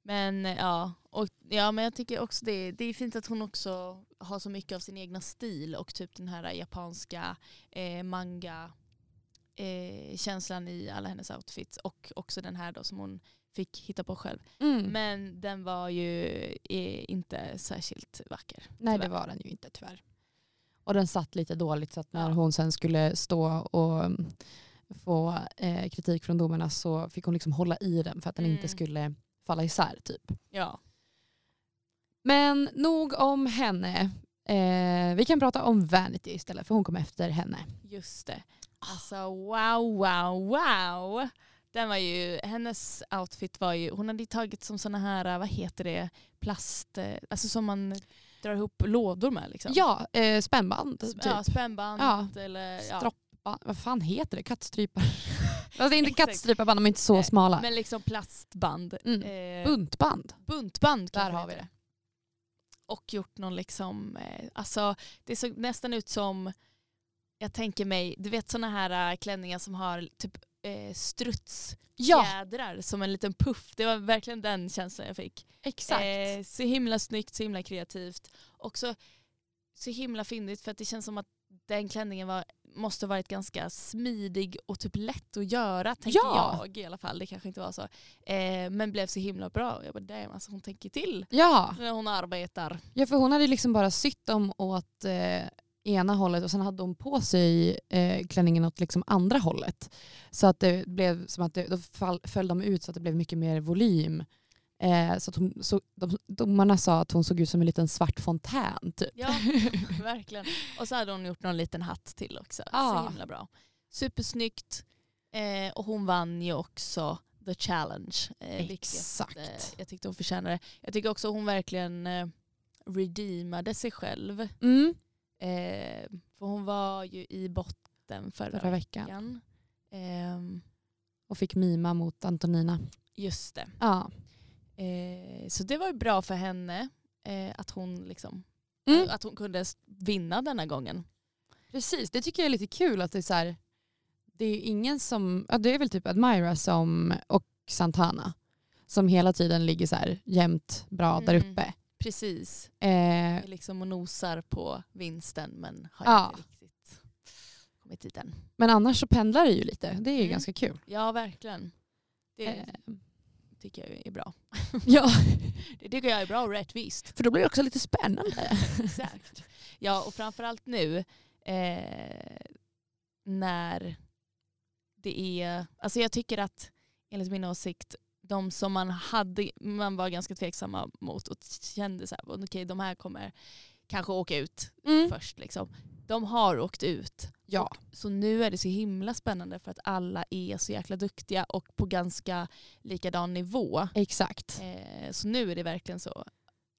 [SPEAKER 2] Men eh, ja, och, ja, men jag tycker också det, det är fint att hon också har så mycket av sin egna stil och typ den här japanska eh, manga eh, känslan i alla hennes outfits och också den här då som hon fick hitta på själv.
[SPEAKER 3] Mm.
[SPEAKER 2] Men den var ju eh, inte särskilt vacker.
[SPEAKER 3] Nej
[SPEAKER 2] tyvärr.
[SPEAKER 3] det var den ju inte tyvärr. Och den satt lite dåligt så att när
[SPEAKER 2] Ja.
[SPEAKER 3] hon sen skulle stå och mm, få eh, kritik från domarna så fick hon liksom hålla i den för att den
[SPEAKER 2] Mm.
[SPEAKER 3] inte skulle falla isär typ.
[SPEAKER 2] Ja.
[SPEAKER 3] Men nog om henne. Eh, vi kan prata om Vanity istället för hon kom efter henne.
[SPEAKER 2] Just det. Alltså wow, wow, wow. Den var ju, hennes outfit var ju, hon hade ju tagit som sådana här, eh, vad heter det, plast, eh, alltså som man drar ihop lådor med liksom.
[SPEAKER 3] Ja, eh, spännband typ.
[SPEAKER 2] ja spännband
[SPEAKER 3] Ja.
[SPEAKER 2] eller ja.
[SPEAKER 3] Stroppband, vad fan heter det? Kattstrypar. Fast det är inte
[SPEAKER 2] Exakt.
[SPEAKER 3] kattstryparband, de är inte så
[SPEAKER 2] Nej,
[SPEAKER 3] smala.
[SPEAKER 2] Men liksom plastband.
[SPEAKER 3] Mm.
[SPEAKER 2] Eh,
[SPEAKER 3] Buntband.
[SPEAKER 2] buntband
[SPEAKER 3] Där
[SPEAKER 2] kanske
[SPEAKER 3] har vi
[SPEAKER 2] heter. Och gjort någon liksom, eh, alltså det såg nästan ut som, jag tänker mig, du vet sådana här eh, klänningar som har typ eh, struts
[SPEAKER 3] Ja,
[SPEAKER 2] fjädrar som en liten puff. Det var verkligen den känslan jag fick.
[SPEAKER 3] exakt.
[SPEAKER 2] Eh, så himla snyggt, så himla kreativt. Också så himla fyndigt för att det känns som att den klänningen var, måste ha varit ganska smidig och typ lätt att göra tänker
[SPEAKER 3] Ja.
[SPEAKER 2] jag i alla fall. Det kanske inte var så. Eh, men blev så himla bra. Jag bara damn alltså hon tänker till
[SPEAKER 3] Ja.
[SPEAKER 2] när hon arbetar.
[SPEAKER 3] ja, för hon hade liksom bara sytt dem åt eh, ena hållet och sen hade hon på sig eh, klänningen åt liksom andra hållet. Så att det blev som att det, då fall, föll de ut så att det blev mycket mer volym. Eh, så att hon, så, de, domarna sa att hon såg ut som en liten svart fontän typ.
[SPEAKER 2] Ja, verkligen. Och så hade hon gjort någon liten hatt till också.
[SPEAKER 3] Ja.
[SPEAKER 2] Så himla bra. Supersnyggt. Eh, och hon vann ju också The Challenge. Eh, vilket eh,
[SPEAKER 3] Exakt.
[SPEAKER 2] jag tyckte hon förtjänade. Jag tycker också hon verkligen eh, redeemade sig själv.
[SPEAKER 3] Mm,
[SPEAKER 2] Eh, för hon var ju i botten förra,
[SPEAKER 3] förra veckan.
[SPEAKER 2] veckan. Ehm,
[SPEAKER 3] Och fick mima mot Antonina.
[SPEAKER 2] just det.
[SPEAKER 3] Ja.
[SPEAKER 2] Eh, så det var ju bra för henne eh, att, hon liksom,
[SPEAKER 3] Mm.
[SPEAKER 2] att hon kunde s- vinna denna gången.
[SPEAKER 3] Precis, det tycker jag är lite kul att det är så här, det är ingen som, ja, det är väl typ Admira som, och Santana som hela tiden ligger så här jämnt bra där
[SPEAKER 2] Mm.
[SPEAKER 3] uppe.
[SPEAKER 2] Precis.
[SPEAKER 3] Eh,
[SPEAKER 2] är liksom och nosar på vinsten men har
[SPEAKER 3] Ja.
[SPEAKER 2] inte riktigt kommit dit än.
[SPEAKER 3] men annars så pendlar det ju lite, det är ju
[SPEAKER 2] Mm.
[SPEAKER 3] ganska kul.
[SPEAKER 2] Ja, verkligen. Det
[SPEAKER 3] Eh,
[SPEAKER 2] tycker jag är bra.
[SPEAKER 3] ja,
[SPEAKER 2] Det tycker jag är bra och rättvist.
[SPEAKER 3] för då blir det också lite spännande.
[SPEAKER 2] Exakt. Ja, och framförallt nu eh, när det är... Alltså jag tycker att, enligt min åsikt, de som man hade, man var ganska tveksamma mot och kände så här, okej de här kommer kanske åka ut
[SPEAKER 3] Mm.
[SPEAKER 2] först liksom. De har åkt ut.
[SPEAKER 3] Ja,
[SPEAKER 2] Så nu är det så himla spännande för att alla är så jäkla duktiga och på ganska likadan nivå.
[SPEAKER 3] exakt.
[SPEAKER 2] Eh, så nu är det verkligen så,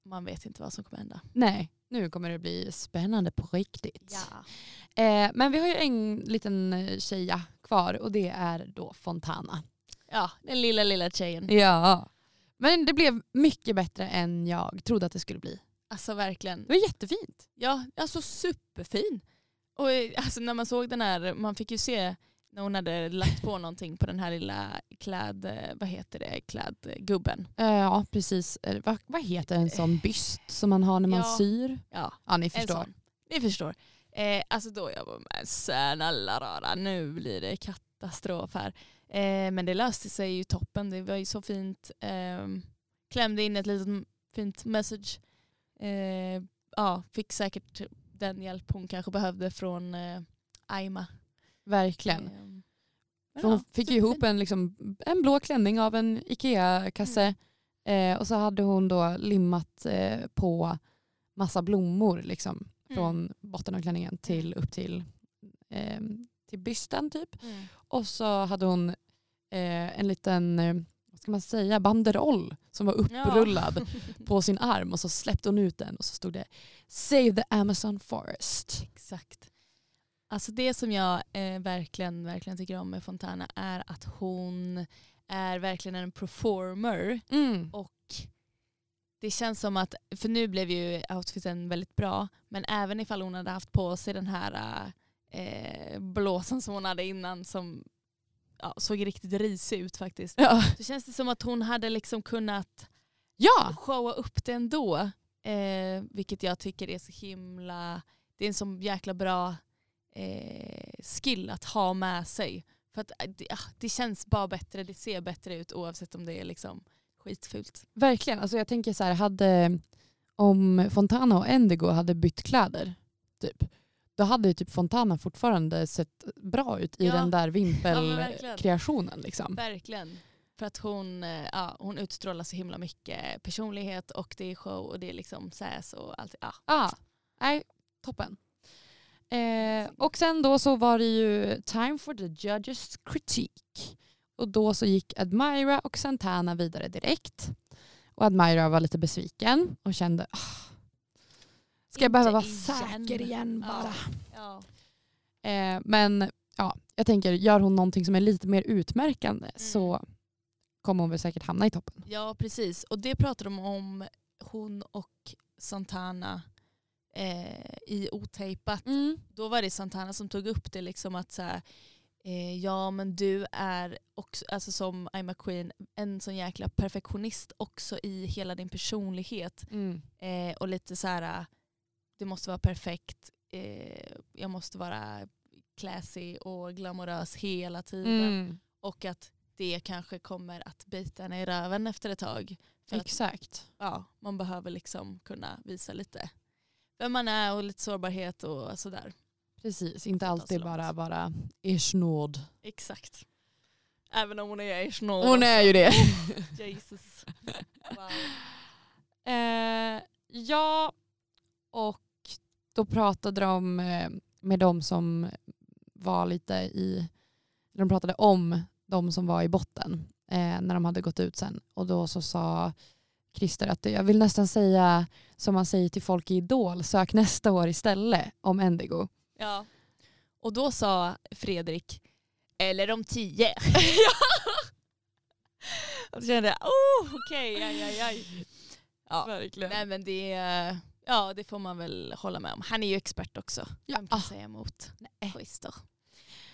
[SPEAKER 2] man vet inte vad som kommer hända.
[SPEAKER 3] Nej, nu kommer det bli spännande på riktigt. Eh, men vi har ju en liten eh, tjeja kvar och det är då Fontana.
[SPEAKER 2] ja, den lilla lilla tjejen.
[SPEAKER 3] Ja. Men det blev mycket bättre än jag trodde att det skulle bli.
[SPEAKER 2] Alltså verkligen.
[SPEAKER 3] Det var jättefint.
[SPEAKER 2] Ja, alltså superfin. Och eh, alltså, när man såg den här, man fick ju se när hon hade lagt på någonting på den här lilla kläd, eh, vad heter det, klädgubben.
[SPEAKER 3] Eh, Ja, precis. Eh, Vad, vad heter en sån byst som man har när man
[SPEAKER 2] Eh. Ja.
[SPEAKER 3] syr?
[SPEAKER 2] Ja,
[SPEAKER 3] Ja, ni
[SPEAKER 2] En
[SPEAKER 3] förstår.
[SPEAKER 2] sån. Ni förstår. Eh, alltså då jag var med, snälla rara, nu blir det katastrof här. Eh, men det löste sig ju toppen, det var ju så fint. Eh, klämde in ett litet m- fint message. Eh, ja, fick säkert den hjälp hon kanske behövde från eh, Aima.
[SPEAKER 3] Verkligen.
[SPEAKER 2] Eh, men
[SPEAKER 3] För hon
[SPEAKER 2] ja,
[SPEAKER 3] fick ju
[SPEAKER 2] superfint.
[SPEAKER 3] ihop en, liksom, en blå klänning av en Ikea-kasse
[SPEAKER 2] Mm.
[SPEAKER 3] eh, och så hade hon då limmat eh, på massa blommor liksom,
[SPEAKER 2] Mm.
[SPEAKER 3] från botten av klänningen till upp till, eh, till bysten typ.
[SPEAKER 2] Mm.
[SPEAKER 3] Och så hade hon eh, en liten, eh, vad ska man säga, banderoll som var upprullad på sin arm och så släppte hon ut den och så stod det Save the Amazon Forest.
[SPEAKER 2] Exakt. Alltså det som jag eh, verkligen, verkligen tycker om med Fontana är att hon är verkligen en performer. Och det känns som att, för nu blev ju outfiten väldigt bra, men även ifall hon hade haft på sig den här eh, blåsan som hon hade innan som ja, såg riktigt risig ut faktiskt,
[SPEAKER 3] Ja.
[SPEAKER 2] så känns det som att hon hade liksom kunnat
[SPEAKER 3] ja,
[SPEAKER 2] showa upp det ändå. Eh, vilket jag tycker är så himla, det är en så jäkla bra eh, skill att ha med sig. För att eh, det, ah, det känns bara bättre, det ser bättre ut oavsett om det är liksom skitfult.
[SPEAKER 3] Verkligen. Alltså jag tänker så här, hade, om Fontana och Endigo hade bytt kläder, typ, då hade ju typ Fontana fortfarande sett bra ut i
[SPEAKER 2] Ja.
[SPEAKER 3] den där
[SPEAKER 2] Ja, men verkligen.
[SPEAKER 3] vimpelkreationen. Liksom.
[SPEAKER 2] Verkligen. För att hon, eh, ja, hon utstrålar så himla mycket personlighet och det är show och det är liksom sass och allt. Ja.
[SPEAKER 3] Ah, nej, toppen. Eh, och sen då så var det ju time for the judges critique. Och då så gick Admira och Santana vidare direkt. Och Admira var lite besviken och kände ah, Ska jag
[SPEAKER 2] Inte
[SPEAKER 3] behöva vara
[SPEAKER 2] igen."
[SPEAKER 3] säker igen bara?
[SPEAKER 2] Ja.
[SPEAKER 3] Eh, men ja, jag tänker, gör hon någonting som är lite mer utmärkande
[SPEAKER 2] Mm.
[SPEAKER 3] så kommer hon väl säkert hamna i toppen.
[SPEAKER 2] Ja, precis. Och det pratar de om, hon och Santana eh, i Otejpat.
[SPEAKER 3] Mm.
[SPEAKER 2] Då var det Santana som tog upp det, liksom att så här, eh, ja men du är också, alltså som I'm a Queen, en sån jäkla perfektionist också i hela din personlighet.
[SPEAKER 3] Mm.
[SPEAKER 2] Eh, och lite så här, det måste vara perfekt, eh, jag måste vara classy och glamorös hela tiden.
[SPEAKER 3] Mm.
[SPEAKER 2] Och att det kanske kommer att bita henne i röven efter ett tag. För att
[SPEAKER 3] Exakt.
[SPEAKER 2] ja, man behöver liksom kunna visa lite vem man är och lite sårbarhet och sådär.
[SPEAKER 3] Precis,
[SPEAKER 2] ta
[SPEAKER 3] inte
[SPEAKER 2] så
[SPEAKER 3] alltid
[SPEAKER 2] långt.
[SPEAKER 3] bara, bara ersnåd.
[SPEAKER 2] Exakt. Även om hon är i snål.
[SPEAKER 3] Hon är ju det.
[SPEAKER 2] Jesus. Wow.
[SPEAKER 3] Eh, ja, och då pratade de eh, med de som var lite i, de pratade om de som var i botten eh, när de hade gått ut sen. Och då så sa Christer att jag vill nästan säga som man säger till folk i Idol, sök nästa år istället om Endigo.
[SPEAKER 2] Ja. Och då sa Fredrik, eller om tio. och då kände jag, oh, okej, aj, aj, aj. Ja.
[SPEAKER 3] Verkligen.
[SPEAKER 2] Nej men det, eh, ja, det får man väl hålla med om. Han är ju expert också.
[SPEAKER 3] Ja.
[SPEAKER 2] Vem kan
[SPEAKER 3] Ah.
[SPEAKER 2] säga emot? Christer.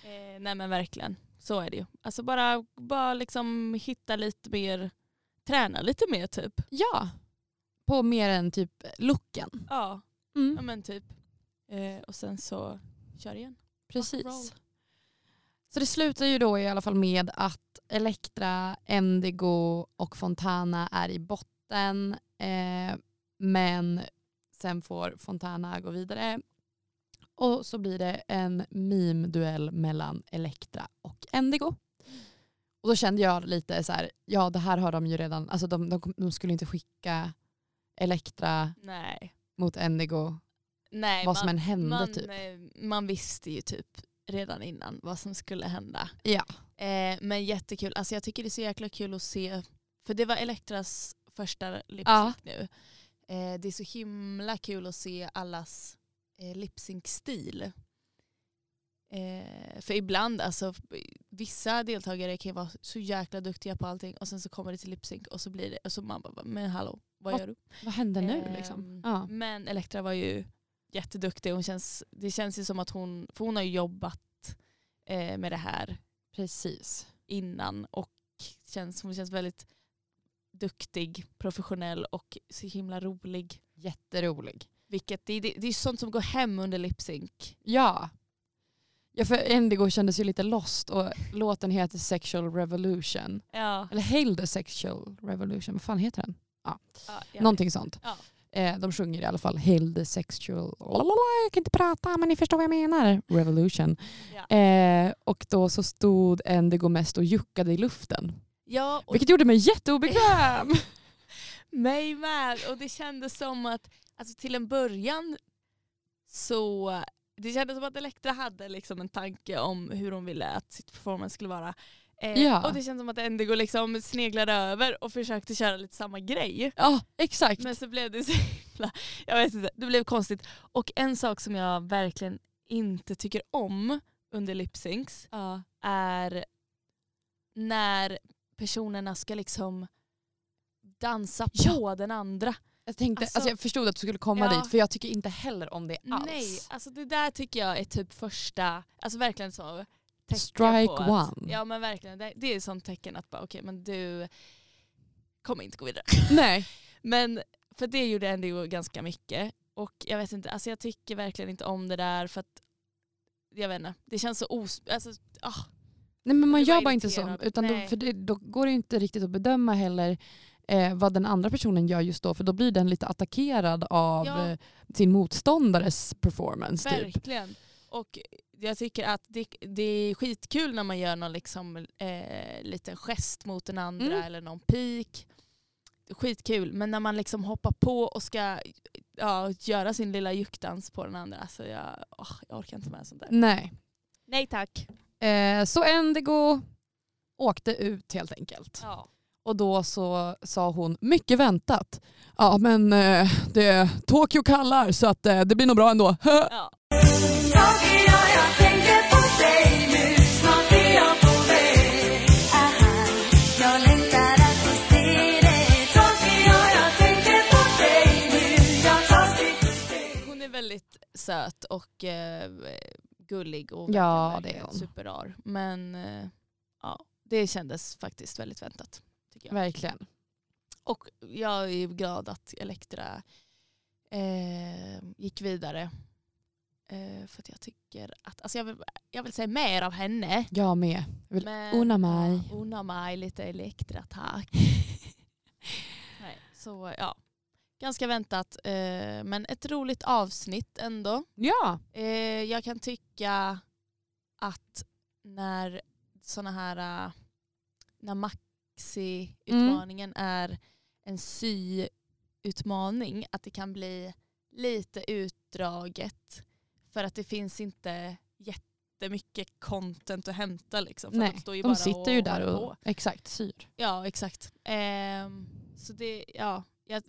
[SPEAKER 2] Eh, nej men verkligen, så är det ju. Alltså bara, bara liksom hitta lite mer, träna lite mer typ.
[SPEAKER 3] Ja, på mer än typ looken.
[SPEAKER 2] Ja,
[SPEAKER 3] Mm.
[SPEAKER 2] ja men typ. Eh, och sen så kör igen. roll.
[SPEAKER 3] Precis. Så det slutar ju då i alla fall med att Elektra, Endigo och Fontana är i botten. Eh, men sen får Fontana gå vidare. Och så blir det en meme-duell mellan Elektra och Endigo. Och då kände jag lite så här, ja det här har de ju redan, alltså de, de, de skulle inte skicka Elektra
[SPEAKER 2] Nej.
[SPEAKER 3] mot Endigo,
[SPEAKER 2] Nej
[SPEAKER 3] vad som
[SPEAKER 2] man,
[SPEAKER 3] än hände
[SPEAKER 2] man,
[SPEAKER 3] typ.
[SPEAKER 2] eh, man visste ju typ redan innan vad som skulle hända.
[SPEAKER 3] Ja.
[SPEAKER 2] Eh, men jättekul, alltså jag tycker det är så jäkla kul att se, för det var Elektras första lipsync
[SPEAKER 3] Ja.
[SPEAKER 2] nu. Eh, det är så himla kul att se allas eh, lipsync-stil. Eh, för ibland, alltså vissa deltagare kan ju vara så jäkla duktiga på allting och sen så kommer det till lipsync och så blir det, och så man bara, men hallå, vad
[SPEAKER 3] Vad
[SPEAKER 2] gör du?
[SPEAKER 3] Vad hände nu
[SPEAKER 2] Ehm,
[SPEAKER 3] liksom? Ja.
[SPEAKER 2] Men Elektra var ju jätteduktig, hon känns, det känns ju som att hon, för hon har ju jobbat eh, med det här
[SPEAKER 3] Precis.
[SPEAKER 2] innan och känns, hon känns väldigt duktig, professionell och så himla rolig.
[SPEAKER 3] Jätterolig.
[SPEAKER 2] Vilket, det, det, det är sånt som går hem under lipsync.
[SPEAKER 3] Ja. ja för Indigo kändes ju lite lost och låten heter Sexual Revolution.
[SPEAKER 2] Ja,
[SPEAKER 3] Eller Hail the Sexual Revolution, vad fan heter den? Någonting sånt.
[SPEAKER 2] Ja.
[SPEAKER 3] Eh, de sjunger i alla fall Hail the Sexual, Lalalala, jag kan inte prata men ni förstår vad jag menar, Revolution.
[SPEAKER 2] Ja.
[SPEAKER 3] Eh, och då så stod Indigo mest och juckade i luften.
[SPEAKER 2] Ja, och
[SPEAKER 3] Vilket gjorde mig jätteobekväm.
[SPEAKER 2] mig med. Och det kändes som att alltså, till en början så det kändes som att Elektra hade liksom en tanke om hur hon ville att sitt performance skulle vara. Eh,
[SPEAKER 3] Ja.
[SPEAKER 2] Och det känns som att Endigo liksom sneglade över och försökte köra lite samma grej.
[SPEAKER 3] ja, exakt.
[SPEAKER 2] Men så blev det så himla, jag vet inte, det blev konstigt. Och en sak som jag verkligen inte tycker om under lipsyncs
[SPEAKER 3] ja.
[SPEAKER 2] är när personerna ska liksom dansa
[SPEAKER 3] Ja.
[SPEAKER 2] på den andra.
[SPEAKER 3] Jag, tänkte,
[SPEAKER 2] Alltså-
[SPEAKER 3] alltså, jag förstod att du skulle komma
[SPEAKER 2] Ja.
[SPEAKER 3] dit för jag tycker inte heller om det alls.
[SPEAKER 2] Nej, alltså det där tycker jag är typ första, alltså verkligen så. tecken
[SPEAKER 3] Strike
[SPEAKER 2] på att-
[SPEAKER 3] one.
[SPEAKER 2] Ja men verkligen, det, det är ett sånt tecken att bara okej men du kommer inte gå vidare.
[SPEAKER 3] Nej.
[SPEAKER 2] Men för det gjorde ändå ganska mycket. Och jag vet inte, alltså jag tycker verkligen inte om det där för att jag vet inte, det känns så os... Alltså, ah,
[SPEAKER 3] Nej men man
[SPEAKER 2] blir bara
[SPEAKER 3] gör bara inte så.
[SPEAKER 2] irriterad.
[SPEAKER 3] Utan då,
[SPEAKER 2] Nej.
[SPEAKER 3] för det, då går det ju inte riktigt att bedöma heller eh, vad den andra personen gör just då. För då blir den lite attackerad av
[SPEAKER 2] Ja.
[SPEAKER 3] eh, sin motståndares performance. Typ.
[SPEAKER 2] verkligen. Och jag tycker att det, det är skitkul när man gör någon liksom, eh, liten gest mot den andra
[SPEAKER 3] Mm.
[SPEAKER 2] eller någon pik. Skitkul, men när man liksom hoppar på och ska ja, göra sin lilla juktdans på den andra, alltså jag, åh, jag orkar inte med sånt där.
[SPEAKER 3] Nej.
[SPEAKER 2] Nej tack.
[SPEAKER 3] Eh, så Endigo åkte ut helt enkelt.
[SPEAKER 2] Ja.
[SPEAKER 3] Och då så sa hon, mycket väntat, ja men eh, det, Tokyo kallar så att eh, det blir nog bra ändå.
[SPEAKER 2] Ja.
[SPEAKER 1] Tokyo, jag tänker på dig nu. Snart är jag på väg. Aha, jag längtar att få se dig. Tokyo, jag tänker på dig nu. Jag tar steg för steg.
[SPEAKER 2] Hon är väldigt söt och eh, gullig och
[SPEAKER 3] Ja,
[SPEAKER 2] verkar-
[SPEAKER 3] det är
[SPEAKER 2] verkar
[SPEAKER 3] hon.
[SPEAKER 2] superrar. Men eh, ja, det kändes faktiskt väldigt väntat. Tycker jag.
[SPEAKER 3] Verkligen.
[SPEAKER 2] Och jag är ju glad att Elektra eh, gick vidare. Eh, för att jag tycker att, alltså jag vill, jag vill säga mer av henne.
[SPEAKER 3] Jag med. Vill
[SPEAKER 2] Men,
[SPEAKER 3] unna mig.
[SPEAKER 2] Ja, unna mig lite Elektra tack. Nej, så ja, ganska väntat. Eh, men ett roligt avsnitt ändå.
[SPEAKER 3] Ja.
[SPEAKER 2] Eh, jag kan tycka att när såna här eh, när maxi-utmaningen
[SPEAKER 3] Mm.
[SPEAKER 2] är en sy-utmaning att det kan bli lite utdraget för att det finns inte jättemycket content att hämta. Liksom, för
[SPEAKER 3] Nej,
[SPEAKER 2] de, står ju
[SPEAKER 3] de
[SPEAKER 2] bara
[SPEAKER 3] sitter ju
[SPEAKER 2] och
[SPEAKER 3] där
[SPEAKER 2] håller
[SPEAKER 3] och
[SPEAKER 2] på.
[SPEAKER 3] exakt syr.
[SPEAKER 2] Ja, exakt. Ehm, så det, ja, jag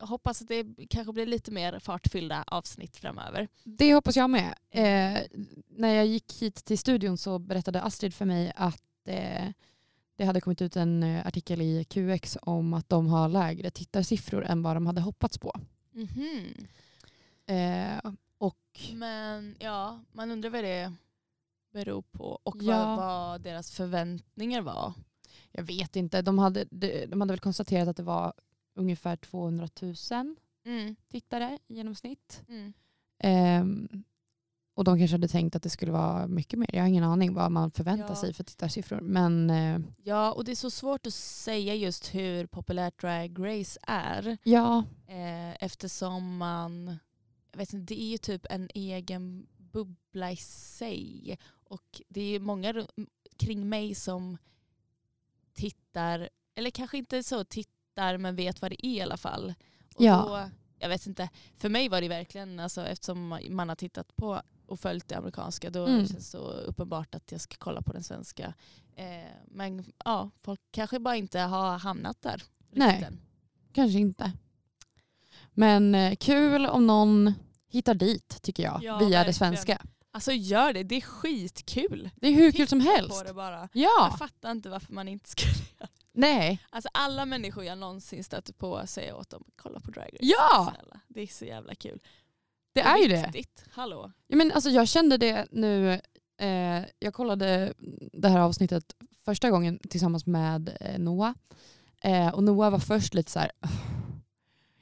[SPEAKER 2] hoppas att det kanske blir lite mer fartfyllda avsnitt framöver.
[SPEAKER 3] Det hoppas jag med. Eh, när jag gick hit till studion så berättade Astrid för mig att eh, det hade kommit ut en eh, artikel i QX om att de har lägre tittarsiffror än vad de hade hoppats på.
[SPEAKER 2] Mhm.
[SPEAKER 3] Eh, och
[SPEAKER 2] Men ja, man undrar vad det beror på och
[SPEAKER 3] Ja.
[SPEAKER 2] vad, vad deras förväntningar var.
[SPEAKER 3] jag vet inte, de hade, de, de hade väl konstaterat att det var ungefär 200 000 tittare i genomsnitt. Ehm, och de kanske hade tänkt att det skulle vara mycket mer. Jag har ingen aning vad man förväntar
[SPEAKER 2] Ja.
[SPEAKER 3] sig för tittarsiffror. Men eh,
[SPEAKER 2] Ja, och det är så svårt att säga just hur populärt Drag Race är
[SPEAKER 3] ja,
[SPEAKER 2] eh, eftersom man, jag vet inte, det är ju typ en egen bubbla i sig och det är ju många ru- kring mig som tittar, eller kanske inte så tittar men vet vad det är i alla fall. Och
[SPEAKER 3] Ja.
[SPEAKER 2] då, jag vet inte, för mig var det verkligen, alltså, eftersom man har tittat på och följt det amerikanska då
[SPEAKER 3] Mm.
[SPEAKER 2] känns det så uppenbart att jag ska kolla på den svenska. Eh, men ja, folk kanske bara inte har hamnat där. riktigt
[SPEAKER 3] Nej.
[SPEAKER 2] än.
[SPEAKER 3] Kanske inte. Men eh, kul om någon hittar dit tycker jag,
[SPEAKER 2] Ja,
[SPEAKER 3] via det
[SPEAKER 2] verkligen.
[SPEAKER 3] svenska.
[SPEAKER 2] Alltså gör det, det är skitkul.
[SPEAKER 3] Det är hur kul
[SPEAKER 2] Titta
[SPEAKER 3] som
[SPEAKER 2] På
[SPEAKER 3] helst.
[SPEAKER 2] det bara.
[SPEAKER 3] Ja,
[SPEAKER 2] Jag fattar inte varför man inte skulle göra
[SPEAKER 3] nej.
[SPEAKER 2] Alltså alla människor jag någonsin stöter på säger åt dem, kolla på Drag Race.
[SPEAKER 3] Ja,
[SPEAKER 2] Snälla. Det är så jävla kul.
[SPEAKER 3] det är ju det.
[SPEAKER 2] viktigt. Hallå.
[SPEAKER 3] Ja, men alltså, jag kände det nu, eh, jag kollade det här avsnittet första gången tillsammans med eh, Noah. Eh, och Noah var först lite så här, jag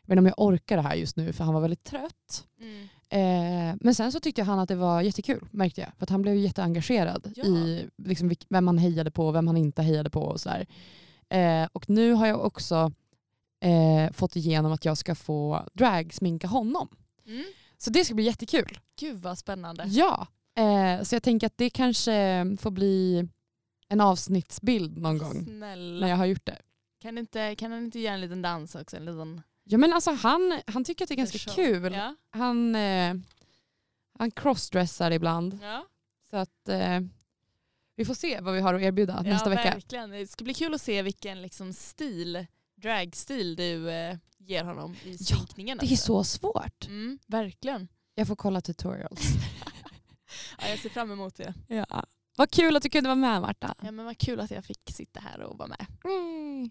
[SPEAKER 3] vet inte om jag orkar det här just nu för han var väldigt trött.
[SPEAKER 2] Mm.
[SPEAKER 3] Eh, men sen så tyckte han att det var jättekul märkte jag. För att han blev ju jätteengagerad
[SPEAKER 2] Ja.
[SPEAKER 3] i liksom, vilk- vem han hejade på och vem han inte hejade på och sådär. Eh, och nu har jag också eh, fått igenom att jag ska få dragsminka honom.
[SPEAKER 2] Mm.
[SPEAKER 3] Så det ska bli jättekul.
[SPEAKER 2] Gud vad spännande.
[SPEAKER 3] Ja. Eh, så jag tänker att det kanske får bli en avsnittsbild någon gång när
[SPEAKER 2] Snälla.
[SPEAKER 3] jag har gjort det.
[SPEAKER 2] Kan, inte, kan han inte göra en liten dans också? En liten
[SPEAKER 3] Ja men alltså han, han tycker att det är ganska
[SPEAKER 2] show?
[SPEAKER 3] kul.
[SPEAKER 2] Ja.
[SPEAKER 3] Han, eh, han crossdressar ibland.
[SPEAKER 2] Ja.
[SPEAKER 3] Så att eh, vi får se vad vi har att erbjuda nästa
[SPEAKER 2] ja,
[SPEAKER 3] vecka.
[SPEAKER 2] Verkligen. Det ska bli kul att se vilken liksom, stil, dragstil du eh, ger honom i synkningen.
[SPEAKER 3] Det är
[SPEAKER 2] alltså.
[SPEAKER 3] så svårt.
[SPEAKER 2] Mm, verkligen.
[SPEAKER 3] Jag får kolla tutorials.
[SPEAKER 2] Ja, jag ser fram emot det.
[SPEAKER 3] ja. Vad kul att du kunde vara med Marta.
[SPEAKER 2] Ja, men vad kul att jag fick sitta här och vara med.
[SPEAKER 3] Mm.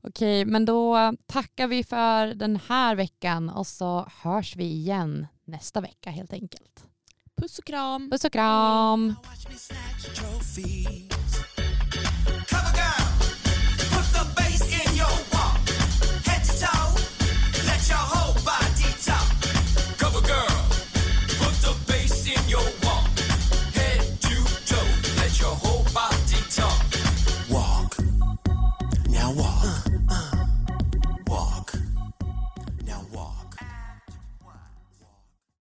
[SPEAKER 3] Okej, men då tackar vi för den här veckan och så hörs vi igen nästa vecka helt enkelt.
[SPEAKER 2] Puss och kram!
[SPEAKER 3] Puss och kram!
[SPEAKER 2] Mm.
[SPEAKER 1] Now watch me snatch trophies. Uh,